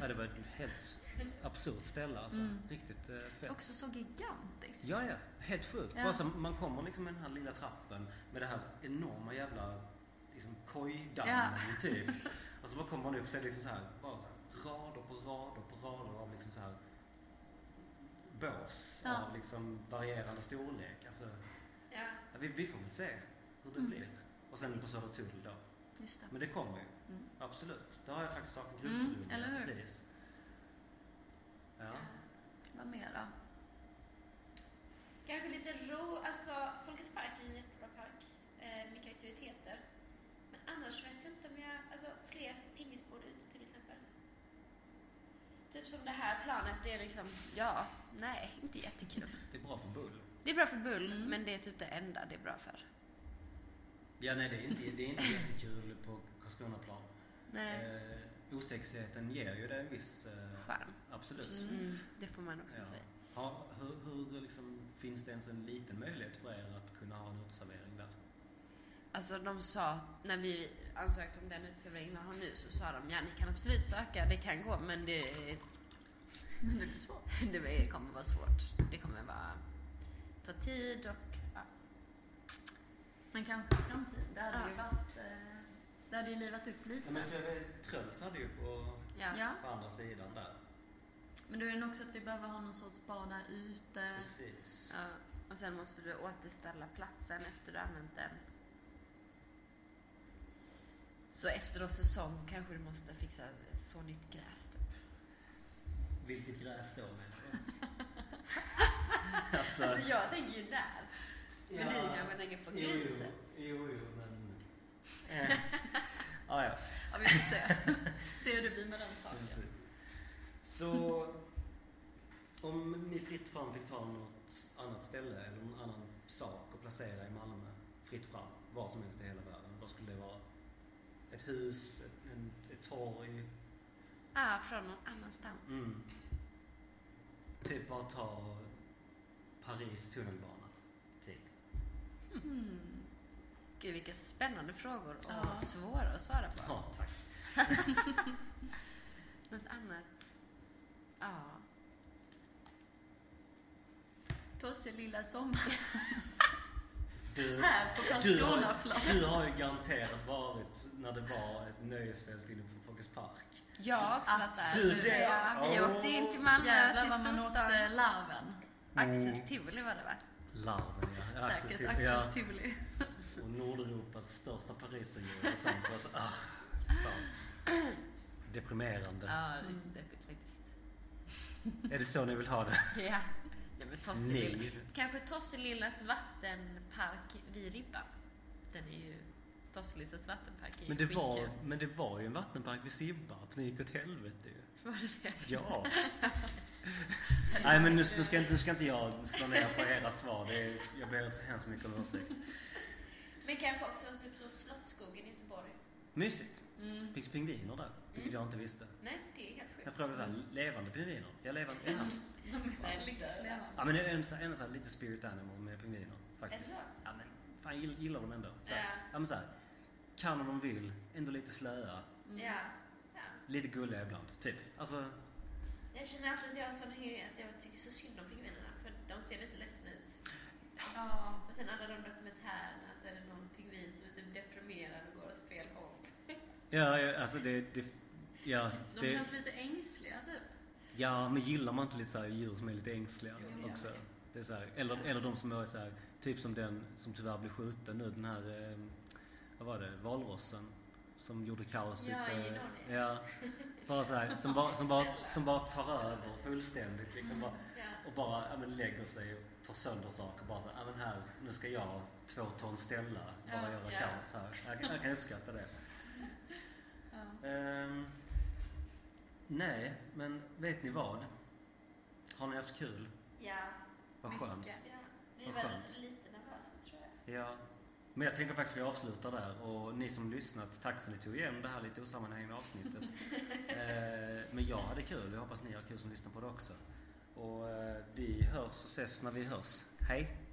Speaker 1: ja, det var ett helt absurt ställe alltså.
Speaker 4: Mm.
Speaker 1: Riktigt eh, fett.
Speaker 4: Också så gigantiskt.
Speaker 1: Ja, ja. Helt sjukt.
Speaker 4: Ja.
Speaker 1: Bara så man kommer liksom med den här lilla trappen med det här enorma jävla liksom, kojdammen typ. Och så bara kommer man upp så är det liksom så här, bara så här, rader på rader på rader av liksom så här bås
Speaker 4: Ja.
Speaker 1: av liksom varierande storlek. Alltså,
Speaker 3: Ja.
Speaker 1: ja, vi, vi får väl se hur det
Speaker 4: Mm.
Speaker 1: blir. Och sen på Södertull då.
Speaker 4: Just det.
Speaker 1: Men det kommer ju.
Speaker 4: Mm.
Speaker 1: Absolut. Det har jag faktiskt saknat.
Speaker 4: Mm,
Speaker 1: Grupprummet,
Speaker 4: eller hur?
Speaker 1: Precis. Ja.
Speaker 4: Vad mer då?
Speaker 8: Kanske lite ro, alltså Folkets park är en jättebra park. Eh, mycket aktiviteter. Men annars vet jag inte om jag, alltså fler pingisbord ute till exempel.
Speaker 2: Typ som det här planet, det är liksom, ja, nej, inte jättekul.
Speaker 1: Det är bra för bull.
Speaker 2: Det är bra för bull,
Speaker 4: Mm.
Speaker 2: men det är typ det enda det är bra för.
Speaker 1: Ja, nej, det är inte, det är inte jättekul på Karlskronaplan.
Speaker 2: Nej,
Speaker 1: Eh, osexigheten ger ju det en viss... Eh,
Speaker 2: charm.
Speaker 1: absolut.
Speaker 2: Mm, det får man också
Speaker 1: Ja.
Speaker 2: säga.
Speaker 1: Har, hur, hur liksom, finns det ens en liten möjlighet för er att kunna ha en uteservering där?
Speaker 2: Alltså de sa, när vi ansökte om den utställning vi har nu så sa de ja ni kan absolut söka, det kan gå men det,
Speaker 4: Men det blir svårt.
Speaker 2: det blir- kommer vara svårt. Det kommer vara, ta tid och ja.
Speaker 4: Men kanske i framtiden. Det hade
Speaker 2: Ja.
Speaker 4: ju varit... eh, Det hade ju livat upp lite.
Speaker 1: Ja, men för jag vet, Tröls hade ju på,
Speaker 2: ja.
Speaker 4: Ja,
Speaker 1: på andra sidan där.
Speaker 4: men då är det nog också att vi behöver ha någon sorts bar där ute.
Speaker 1: Precis.
Speaker 2: Ja, Och sen måste du återställa platsen efter du har använt den. Så efter då säsong kanske du måste fixa så nytt gräs. Då.
Speaker 1: Vilket gräs då menar du? alltså,
Speaker 2: Alltså jag tänker ju där. Men
Speaker 1: ja,
Speaker 2: ni kanske tänker på
Speaker 1: jo, jo,
Speaker 2: griset.
Speaker 1: Jo, jo, men... Eh. ah, ja.
Speaker 4: Ja, vi får se.
Speaker 3: Se hur det blir med den saken.
Speaker 1: Precis. Så om ni fritt fram fick ta något annat ställe eller någon annan sak och placera i Malmö, fritt fram, var som helst i hela världen, vad skulle det vara? Ett hus, ett, en, ett torg?
Speaker 2: Ah, från någon annanstans.
Speaker 1: Mm. Typ bara ta Paris tunnelbana. Typ.
Speaker 4: Mm.
Speaker 2: Gud vilka spännande frågor och
Speaker 4: Ja.
Speaker 2: svåra att svara på.
Speaker 1: Ja, tack.
Speaker 2: Något annat? Ja.
Speaker 3: Tosse lilla sommar
Speaker 1: Du,
Speaker 3: här på
Speaker 1: du, har,
Speaker 3: Karlskronaplan.
Speaker 1: du har ju garanterat varit när det var ett nöjesfest inne på Folkets Park.
Speaker 2: Jag har också varit
Speaker 1: Du,
Speaker 2: där.
Speaker 1: det-
Speaker 2: Ja, vi
Speaker 1: Åh.
Speaker 2: åkte in till Malmö,
Speaker 3: Jävlar
Speaker 2: till
Speaker 3: vad man åkte
Speaker 2: storstan.
Speaker 3: larven.
Speaker 2: Axels tivoli var det va?
Speaker 1: Larven, ja.
Speaker 3: Säkert
Speaker 1: Axel,
Speaker 3: Axels
Speaker 1: ja.
Speaker 3: Tivoli.
Speaker 1: Och Nordeuropas största pariserhjul och sånt. Alltså, ah, fan. Deprimerande.
Speaker 2: Ja, riktigt deppigt faktiskt.
Speaker 1: Är det så ni vill ha det?
Speaker 2: Ja. Nej, men Tosse Lilla.
Speaker 1: Nej.
Speaker 2: Kanske Tosselillas vattenpark vid Ribban. Den är ju... Tosselillas vattenpark är ju
Speaker 1: Men det, var,
Speaker 2: skitkul.
Speaker 1: men det var ju en vattenpark vid Simbarp. Det gick åt helvete ju.
Speaker 2: Var det det?
Speaker 1: Ja. Nej men nu, nu, ska, nu ska inte jag slå ner på era svar. Det är, jag ber så hemskt mycket om ursäkt.
Speaker 8: Men kanske också typ så Slottsskogen i Göteborg.
Speaker 1: Mysigt.
Speaker 3: Mm.
Speaker 1: Finns pingviner där? Vilket jag inte visste.
Speaker 8: Nej, det är helt sjukt.
Speaker 1: Jag frågade såhär, levande pingviner? Ja, levande. Ja,
Speaker 3: De är livslevande.
Speaker 1: ja men det är en, sån- en sån här lite spirit animal med pingviner.
Speaker 8: Är det
Speaker 1: Faktiskt.
Speaker 8: så?
Speaker 1: Ja men fan jag gill- gillar dem ändå. Så här,
Speaker 8: Ja.
Speaker 1: ja men så här, kan om de vill, ändå lite slöa,
Speaker 8: Ja. ja.
Speaker 1: lite gulliga ibland. Typ. Alltså,
Speaker 8: Jag känner alltid att jag har sån hy att jag tycker så synd om pingvinerna för de ser lite ledsna ut.
Speaker 3: Ja.
Speaker 8: Och sen alla de dokumentärerna så är det någon pingvin som är typ deprimerad och går åt fel håll.
Speaker 1: ja, ja alltså det, det ja,
Speaker 3: De
Speaker 1: det,
Speaker 3: känns lite ängsliga typ.
Speaker 1: ja men gillar man inte lite så här djur som är lite ängsliga
Speaker 8: Jo,
Speaker 1: också?
Speaker 8: ja.
Speaker 1: Det är så här, eller, eller de som är så här, typ som den som tyvärr blev skjuten nu, den här, eh, vad var det, valrossen? Som gjorde kaos
Speaker 8: Ja,
Speaker 1: uppe-
Speaker 8: i Norge.
Speaker 1: Ja, bara så här, som, bara, som, bara, som bara tar över fullständigt liksom. Bara,
Speaker 8: Ja.
Speaker 1: Och bara ja, men lägger sig och tar sönder saker. Bara så här, ja, men här, nu ska jag två ton ställa. Bara
Speaker 3: Ja,
Speaker 1: göra
Speaker 8: ja.
Speaker 1: kaos här. Jag, kan- jag kan uppskatta det.
Speaker 3: Ja.
Speaker 1: Ehm, nej, men vet ni vad? Har ni haft kul?
Speaker 8: Ja.
Speaker 1: Vad skönt.
Speaker 8: ja. Vi
Speaker 1: Vad
Speaker 8: var
Speaker 1: skönt.
Speaker 8: lite nervösa tror jag.
Speaker 1: Ja. Men jag tänker faktiskt att vi avslutar där. Och ni som lyssnat, tack för att ni tog igenom det här lite osammanhängande avsnittet. eh, men jag hade kul. Jag hoppas ni har kul som lyssnar på det också. Och eh, vi hörs och ses när vi hörs. Hej!